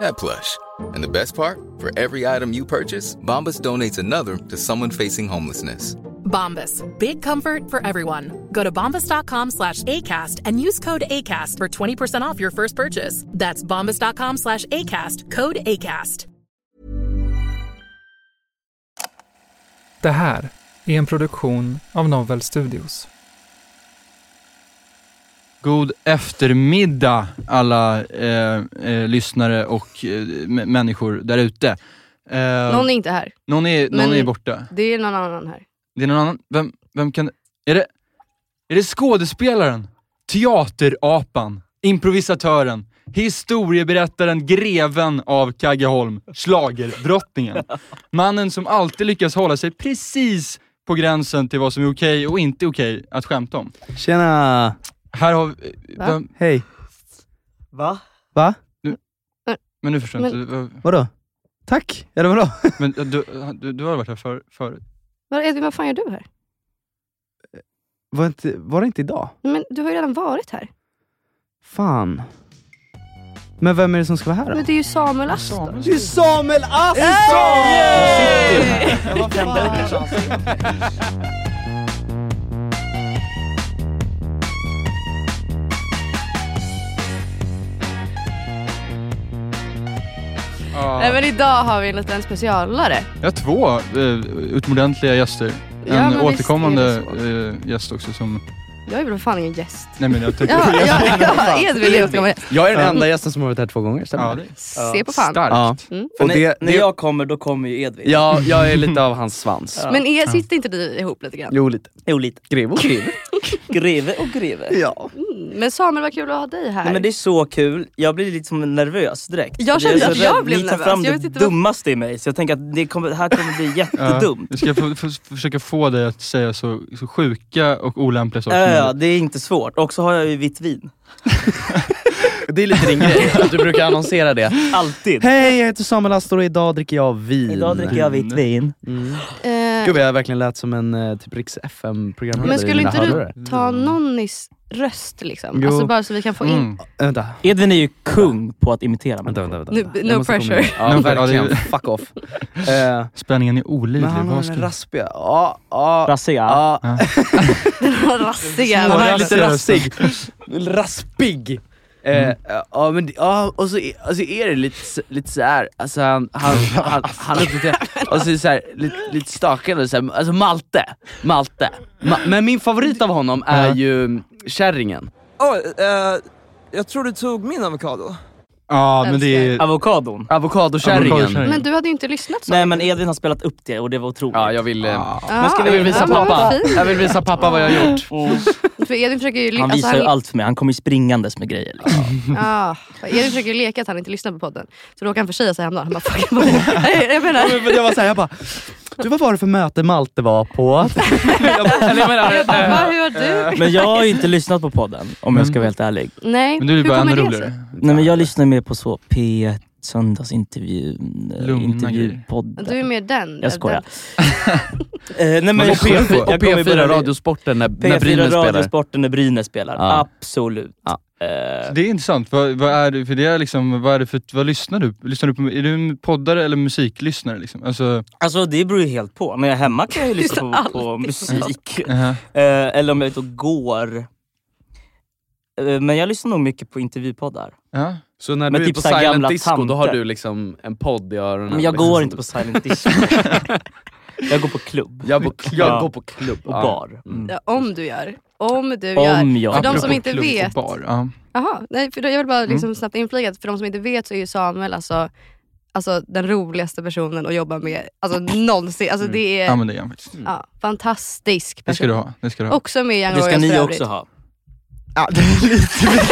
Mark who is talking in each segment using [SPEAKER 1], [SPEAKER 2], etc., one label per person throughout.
[SPEAKER 1] that plush. And the best part? For every item you purchase, Bombas donates another to someone facing homelessness.
[SPEAKER 2] Bombas. Big comfort for everyone. Go to bombas.com slash ACAST and use code ACAST for 20% off your first purchase. That's bombas.com slash ACAST. Code ACAST.
[SPEAKER 3] Det här är en produktion av Novel Studios.
[SPEAKER 4] God eftermiddag alla eh, eh, lyssnare och eh, m- människor där ute. Eh,
[SPEAKER 5] Någon är inte här.
[SPEAKER 4] någon, är, någon
[SPEAKER 5] men-
[SPEAKER 4] är borta.
[SPEAKER 5] Det är någon annan här.
[SPEAKER 4] Det är någon annan. Vem, vem kan... Är det, är det skådespelaren? Teaterapan? Improvisatören? Historieberättaren, greven av Kaggeholm, schlagerdrottningen. Mannen som alltid lyckas hålla sig precis på gränsen till vad som är okej och inte okej att skämta om.
[SPEAKER 6] Tjena!
[SPEAKER 4] Här har vi...
[SPEAKER 5] Va?
[SPEAKER 4] Vem,
[SPEAKER 6] Hej.
[SPEAKER 3] Va?
[SPEAKER 6] Va?
[SPEAKER 4] men nu förstår jag
[SPEAKER 5] Men-
[SPEAKER 4] inte. Vad-
[SPEAKER 6] Vadå? Tack! Eller vadå?
[SPEAKER 4] Men du, du, du har varit här för, förut?
[SPEAKER 5] Vad, Edvin, vad fan gör du här?
[SPEAKER 6] Var, inte, var det inte idag?
[SPEAKER 5] Men du har ju redan varit här.
[SPEAKER 6] Fan. Men vem är det som ska vara här då?
[SPEAKER 5] Men det är ju Samuel Astor.
[SPEAKER 6] Det är Samuel Aston! Hey! Vad fan?
[SPEAKER 5] Nej men idag har vi en liten specialare.
[SPEAKER 4] Jag har två eh, utomordentliga gäster.
[SPEAKER 5] Ja,
[SPEAKER 4] en
[SPEAKER 5] men visst
[SPEAKER 4] återkommande
[SPEAKER 5] är
[SPEAKER 4] eh, gäst också som...
[SPEAKER 5] Jag är väl fan ingen gäst.
[SPEAKER 4] Nej men jag tänker...
[SPEAKER 5] Ja, ja, ja, Edvin är återkommande gäst.
[SPEAKER 6] Jag är den enda gästen som har varit här två gånger, stämmer
[SPEAKER 4] Ja,
[SPEAKER 6] det?
[SPEAKER 4] det-
[SPEAKER 5] Se på fan.
[SPEAKER 4] Starkt.
[SPEAKER 6] Ja.
[SPEAKER 5] Mm.
[SPEAKER 6] Och det,
[SPEAKER 7] när
[SPEAKER 6] det,
[SPEAKER 7] jag kommer, då kommer ju Edvin.
[SPEAKER 6] ja, jag är lite av hans svans.
[SPEAKER 7] Ja.
[SPEAKER 5] Men er, sitter inte ni ihop lite grann?
[SPEAKER 6] Jo, lite.
[SPEAKER 7] Jo, lite.
[SPEAKER 6] Grev och grev.
[SPEAKER 7] Greve och greve.
[SPEAKER 6] Ja.
[SPEAKER 5] Mm. Men Samuel, vad kul att ha dig här.
[SPEAKER 7] Nej, men det är så kul. Jag blir lite som nervös direkt.
[SPEAKER 5] Jag
[SPEAKER 7] För det är
[SPEAKER 5] kände
[SPEAKER 7] så
[SPEAKER 5] att jag
[SPEAKER 7] rädd.
[SPEAKER 5] blev
[SPEAKER 7] Ni tar
[SPEAKER 5] nervös.
[SPEAKER 7] fram
[SPEAKER 5] Jag
[SPEAKER 7] det
[SPEAKER 5] vet inte vad-
[SPEAKER 7] dummaste i mig, så jag tänker att det kommer, här kommer bli
[SPEAKER 4] Ja,
[SPEAKER 7] jättedumt.
[SPEAKER 4] Vi ska f- f- försöka få dig att säga så, så sjuka och olämpliga saker
[SPEAKER 7] Ja,
[SPEAKER 4] som
[SPEAKER 7] ja,
[SPEAKER 4] möjligt.
[SPEAKER 7] det är inte svårt. Och så har jag ju vitt vin.
[SPEAKER 6] Det är lite din grej, att du brukar annonsera det.
[SPEAKER 7] Alltid.
[SPEAKER 6] Hej, jag heter Samuel Astor och idag dricker jag vin.
[SPEAKER 7] Idag dricker jag vitt vin.
[SPEAKER 6] Mm.
[SPEAKER 5] Eh,
[SPEAKER 6] Gud vad jag verkligen lät som en eh, typ Riks FM-programledare
[SPEAKER 5] men skulle
[SPEAKER 6] i mina
[SPEAKER 5] inte
[SPEAKER 6] hörlurar.
[SPEAKER 5] du ta Nonnys röst liksom?
[SPEAKER 6] Jo.
[SPEAKER 5] Alltså bara så vi kan få in...
[SPEAKER 4] Mm.
[SPEAKER 6] Äh, Vänta,
[SPEAKER 7] Edvin är ju kung på att imitera mig.
[SPEAKER 6] vänta, vänta. vänta.
[SPEAKER 5] Nu-
[SPEAKER 6] Jag
[SPEAKER 5] no
[SPEAKER 6] måste komma
[SPEAKER 5] pressure.
[SPEAKER 6] in. Ja,
[SPEAKER 4] No,
[SPEAKER 6] verkligen.
[SPEAKER 4] ja, det-
[SPEAKER 6] Fuck off. Eh,
[SPEAKER 4] Spänningen är
[SPEAKER 6] men
[SPEAKER 4] olidlig.
[SPEAKER 6] han har
[SPEAKER 4] Vad
[SPEAKER 6] den
[SPEAKER 4] ska...
[SPEAKER 6] raspiga. Ja, ja,
[SPEAKER 7] Razzia.
[SPEAKER 6] ja.
[SPEAKER 4] Ja.
[SPEAKER 5] Rassiga.
[SPEAKER 6] Han är lite
[SPEAKER 4] rassiga
[SPEAKER 6] rassig. Raspig. Eh,
[SPEAKER 4] Mm.
[SPEAKER 6] Ja men det- ja, och så är, alltså är det lite, s- lite såhär, alltså han, han, han, han är lite, och så är det så här, lite, lite stakad och så här, alltså Malte, Malte. Ma men min favorit av honom är
[SPEAKER 4] Ja.
[SPEAKER 6] ju kärringen.
[SPEAKER 8] jag tror du tog min avokado.
[SPEAKER 4] Ja, men det är...
[SPEAKER 7] Avokadon.
[SPEAKER 6] Avokadokärringen.
[SPEAKER 4] Avokadokärringen.
[SPEAKER 5] Men du hade ju inte lyssnat så.
[SPEAKER 7] Mm. Nej men Edvin har spelat upp det och det var otroligt.
[SPEAKER 6] Ja jag vill, eh,
[SPEAKER 5] Ah,
[SPEAKER 7] men ska vi
[SPEAKER 6] jag vill visa
[SPEAKER 5] ja, men vad
[SPEAKER 6] pappa.
[SPEAKER 5] fint.
[SPEAKER 6] Jag vill visa pappa vad jag har gjort.
[SPEAKER 7] Mm.
[SPEAKER 5] För Edvin försöker ju...
[SPEAKER 7] Han
[SPEAKER 5] alltså,
[SPEAKER 7] visar ju allt för mig. Han kommer ju springandes med grejer. Liksom.
[SPEAKER 5] Ja, Edvin försöker ju leka att han inte lyssnar på podden. Så då råkar han försäga sig häromdagen. Han bara, fuck, jag, bara, Nej, jag menar,
[SPEAKER 6] Ja, men jag var såhär, jag bara, du vad var det för möte Malte var på? jag, bara, eller jag
[SPEAKER 5] jag
[SPEAKER 6] menar,
[SPEAKER 5] bara,
[SPEAKER 6] eh,
[SPEAKER 5] vad, hur har du?
[SPEAKER 7] Men jag har ju inte lyssnat på podden om jag ska vara helt ärlig.
[SPEAKER 5] Nej,
[SPEAKER 4] Men du är
[SPEAKER 5] hur
[SPEAKER 4] bara
[SPEAKER 5] kommer
[SPEAKER 4] ännu
[SPEAKER 5] det sig?
[SPEAKER 4] roligare.
[SPEAKER 7] Nej men jag lyssnar mer på så P1 söndagsintervjun, eh,
[SPEAKER 4] Lugna
[SPEAKER 7] intervjupodden.
[SPEAKER 5] Du är mer den.
[SPEAKER 7] Jag skojar.
[SPEAKER 5] Den-
[SPEAKER 7] Eh, nej, men
[SPEAKER 6] Men och
[SPEAKER 7] jag kommer-
[SPEAKER 6] P4,
[SPEAKER 7] jag kommer börja-
[SPEAKER 6] Radiosporten när, när
[SPEAKER 7] P4
[SPEAKER 6] Brynäs spelar.
[SPEAKER 7] Radiosporten när Brynäs spelar.
[SPEAKER 6] Ja.
[SPEAKER 7] Absolut.
[SPEAKER 6] Ja.
[SPEAKER 7] Eh,
[SPEAKER 4] Det är intressant. Vad, vad är det för det är liksom, vad är det för, vad lyssnar du? Lyssnar du på, är du en poddare eller musiklyssnare liksom? Alltså,
[SPEAKER 7] alltså det beror ju helt på. När jag är hemma kan jag ju lyssna
[SPEAKER 5] Lyssnar
[SPEAKER 7] på, på musik.
[SPEAKER 4] uh
[SPEAKER 7] Eh, eller om jag är ute och går. Eh, Men jag lyssnar nog mycket på intervjupoddar.
[SPEAKER 4] ja.
[SPEAKER 6] Så när
[SPEAKER 7] Men
[SPEAKER 6] du
[SPEAKER 7] typ
[SPEAKER 6] är
[SPEAKER 7] så
[SPEAKER 6] på
[SPEAKER 7] här gamla
[SPEAKER 6] silent disco,
[SPEAKER 7] tanter.
[SPEAKER 6] då har du liksom en podd i öronen.
[SPEAKER 7] Men jag
[SPEAKER 6] liksom,
[SPEAKER 7] går
[SPEAKER 6] som-
[SPEAKER 7] inte på silent disco. jag går på klubb
[SPEAKER 6] Jag, bo, jag
[SPEAKER 7] Ja.
[SPEAKER 6] går på klubb.
[SPEAKER 7] och
[SPEAKER 6] Ja.
[SPEAKER 7] bar. Mm.
[SPEAKER 5] Ja, om du gör. Om du gör.
[SPEAKER 7] Om jag
[SPEAKER 5] För de
[SPEAKER 4] Apropå
[SPEAKER 5] som inte
[SPEAKER 4] klubb och
[SPEAKER 5] vet.
[SPEAKER 4] Bar, ja.
[SPEAKER 5] Jaha, nej, för då, jag vill bara liksom snabbt inflika att för de som inte vet så är ju Samuel alltså alltså, den roligaste personen att jobba med alltså, någonsin. Alltså, det är
[SPEAKER 4] Ja men det är han faktiskt.
[SPEAKER 5] ja, fantastisk
[SPEAKER 4] Det
[SPEAKER 5] person.
[SPEAKER 4] ska du ha. Det ska du ha.
[SPEAKER 5] Också med i Young
[SPEAKER 9] Det ska
[SPEAKER 5] Royals
[SPEAKER 9] ni
[SPEAKER 5] för
[SPEAKER 9] också
[SPEAKER 5] övrigt.
[SPEAKER 9] ha.
[SPEAKER 10] Ja, det är lite...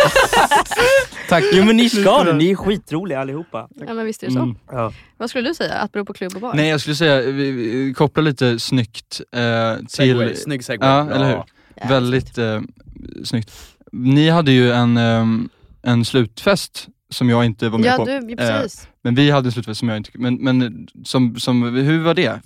[SPEAKER 9] Tack. Jo men ni ska det, ni är skitroliga allihopa.
[SPEAKER 5] Ja, men visst är det så.
[SPEAKER 4] Mm.
[SPEAKER 9] Ja.
[SPEAKER 5] Vad skulle du säga? Att bero på klubb och bar?
[SPEAKER 4] Nej jag skulle säga, vi, vi, koppla lite snyggt eh,
[SPEAKER 11] Segway,
[SPEAKER 4] till...
[SPEAKER 11] snygg segway.
[SPEAKER 4] Ja, eller hur?
[SPEAKER 5] Ja,
[SPEAKER 4] Väldigt eh, snyggt. Ni hade ju en, ehm, en slutfest som jag inte var med
[SPEAKER 5] Ja,
[SPEAKER 4] på. Eh,
[SPEAKER 5] du, ja, precis.
[SPEAKER 4] Men vi hade en slutfest som jag inte... Men, men som, som, hur var det?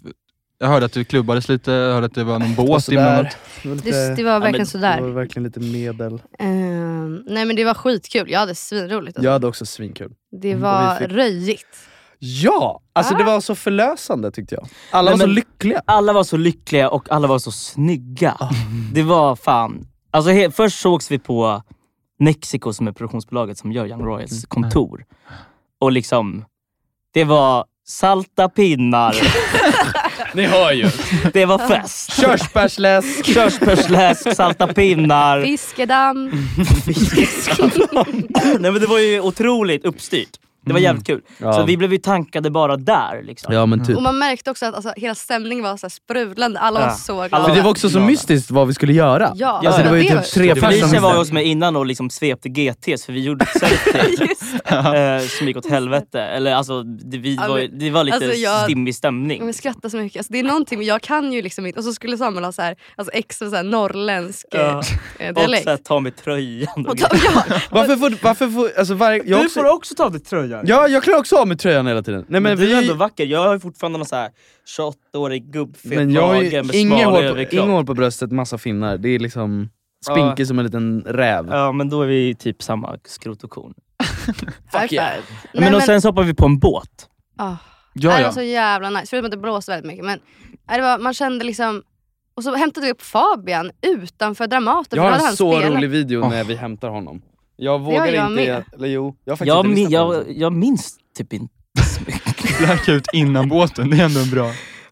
[SPEAKER 4] Jag hörde att det klubbades lite, jag hörde att det var någon båt
[SPEAKER 6] sådär.
[SPEAKER 4] inblandat.
[SPEAKER 6] Det var lite-
[SPEAKER 5] det, det var
[SPEAKER 11] men
[SPEAKER 5] verkligen sådär.
[SPEAKER 6] Det var verkligen lite medel.
[SPEAKER 5] Ehm, nej men det var skitkul, jag hade svinroligt. Alltså.
[SPEAKER 6] Jag hade också svinkul.
[SPEAKER 5] det
[SPEAKER 6] och
[SPEAKER 5] var
[SPEAKER 6] vi fick-
[SPEAKER 5] röjigt.
[SPEAKER 6] Ja! Alltså
[SPEAKER 5] Ah.
[SPEAKER 6] det var så förlösande tyckte jag. Alla
[SPEAKER 9] Nej,
[SPEAKER 6] var så
[SPEAKER 9] men-
[SPEAKER 6] lyckliga. Ah.
[SPEAKER 9] Alla var så lyckliga och alla var så snygga. Det var fan... Alltså, he- först sågs vi på Nexiko som är produktionsbolaget som gör Young
[SPEAKER 6] Mm.
[SPEAKER 9] Royals kontor. Och liksom, det var salta pinnar,
[SPEAKER 11] Ni hör ju.
[SPEAKER 9] det var fest.
[SPEAKER 6] Körsbärsläsk.
[SPEAKER 9] Körsbärsläsk, salta pinnar.
[SPEAKER 5] Fiskedamm.
[SPEAKER 9] Nej men det var ju otroligt uppstyrt. Det var jävligt kul. Så
[SPEAKER 6] Mm. Ja.
[SPEAKER 9] vi blev ju tankade bara där. Liksom.
[SPEAKER 11] Ja men typ.
[SPEAKER 5] Och man märkte också att alltså, hela stämningen var så här sprudlande, alla
[SPEAKER 9] Ja.
[SPEAKER 5] var så glada.
[SPEAKER 9] Alla
[SPEAKER 6] För det var också så mystiskt vad vi skulle göra.
[SPEAKER 5] Ja,
[SPEAKER 9] Alltså,
[SPEAKER 6] det var ju typ tre personer
[SPEAKER 9] Felicia
[SPEAKER 6] som
[SPEAKER 9] var ju hos mig innan och liksom svepte GTs för vi gjorde ett selfie eh, som gick åt helvete. Eller alltså, det, vi
[SPEAKER 5] Ja,
[SPEAKER 9] var, ju-
[SPEAKER 5] men-
[SPEAKER 9] det var lite
[SPEAKER 5] alltså, jag-
[SPEAKER 9] stimmig stämning.
[SPEAKER 5] Jag skrattar så mycket. Alltså, det är någonting, men jag kan ju liksom inte. Och så skulle Samuel ha så här, alltså, extra så här, norrländsk
[SPEAKER 9] Ja.
[SPEAKER 5] ja. eh,
[SPEAKER 9] och
[SPEAKER 5] dialekt.
[SPEAKER 9] såhär ta med tröjan.
[SPEAKER 5] Och
[SPEAKER 9] Och
[SPEAKER 5] ta, ja,
[SPEAKER 6] Varför får, varför får, alltså varje, jag
[SPEAKER 9] du
[SPEAKER 6] också,
[SPEAKER 9] får också ta med tröjan.
[SPEAKER 6] Ja, jag klarar också av med tröjan hela tiden. Nej men
[SPEAKER 9] du är ändå
[SPEAKER 6] vi,
[SPEAKER 9] vacker. Jag har ju fortfarande någon såhär 28-årig gubbfet
[SPEAKER 6] men jag har ju
[SPEAKER 9] mage med
[SPEAKER 6] inget
[SPEAKER 9] smal
[SPEAKER 6] hår, på, inget
[SPEAKER 9] överkropp.
[SPEAKER 6] hår på bröstet, massa finnar. Det är liksom spinkig som en liten räv.
[SPEAKER 9] Ja men då är vi typ samma skrot och korn.
[SPEAKER 5] high
[SPEAKER 9] Fuck yeah.
[SPEAKER 5] five.
[SPEAKER 9] Men, men,
[SPEAKER 5] men,
[SPEAKER 9] och sen så hoppar vi på en båt.
[SPEAKER 5] ah.
[SPEAKER 4] Ja,
[SPEAKER 5] Nej, Det
[SPEAKER 4] ja.
[SPEAKER 5] var så jävla nice, förutom att det blåste väldigt mycket. Men nej, det var, man kände liksom... Och så hämtade vi upp Fabian utanför Dramaten. för
[SPEAKER 6] Jag
[SPEAKER 5] då
[SPEAKER 6] har
[SPEAKER 5] hade han
[SPEAKER 6] en så
[SPEAKER 5] spelat.
[SPEAKER 6] rolig video när vi hämtar honom. Jag vågar
[SPEAKER 5] gör jag
[SPEAKER 6] inte...
[SPEAKER 5] med.
[SPEAKER 6] Eller jo, jag har faktiskt
[SPEAKER 9] Jag,
[SPEAKER 6] inte
[SPEAKER 9] min,
[SPEAKER 6] lyssnat på den.
[SPEAKER 9] jag, jag minns typ inte så mycket.
[SPEAKER 4] Blackout innan båten, det är ändå en bra...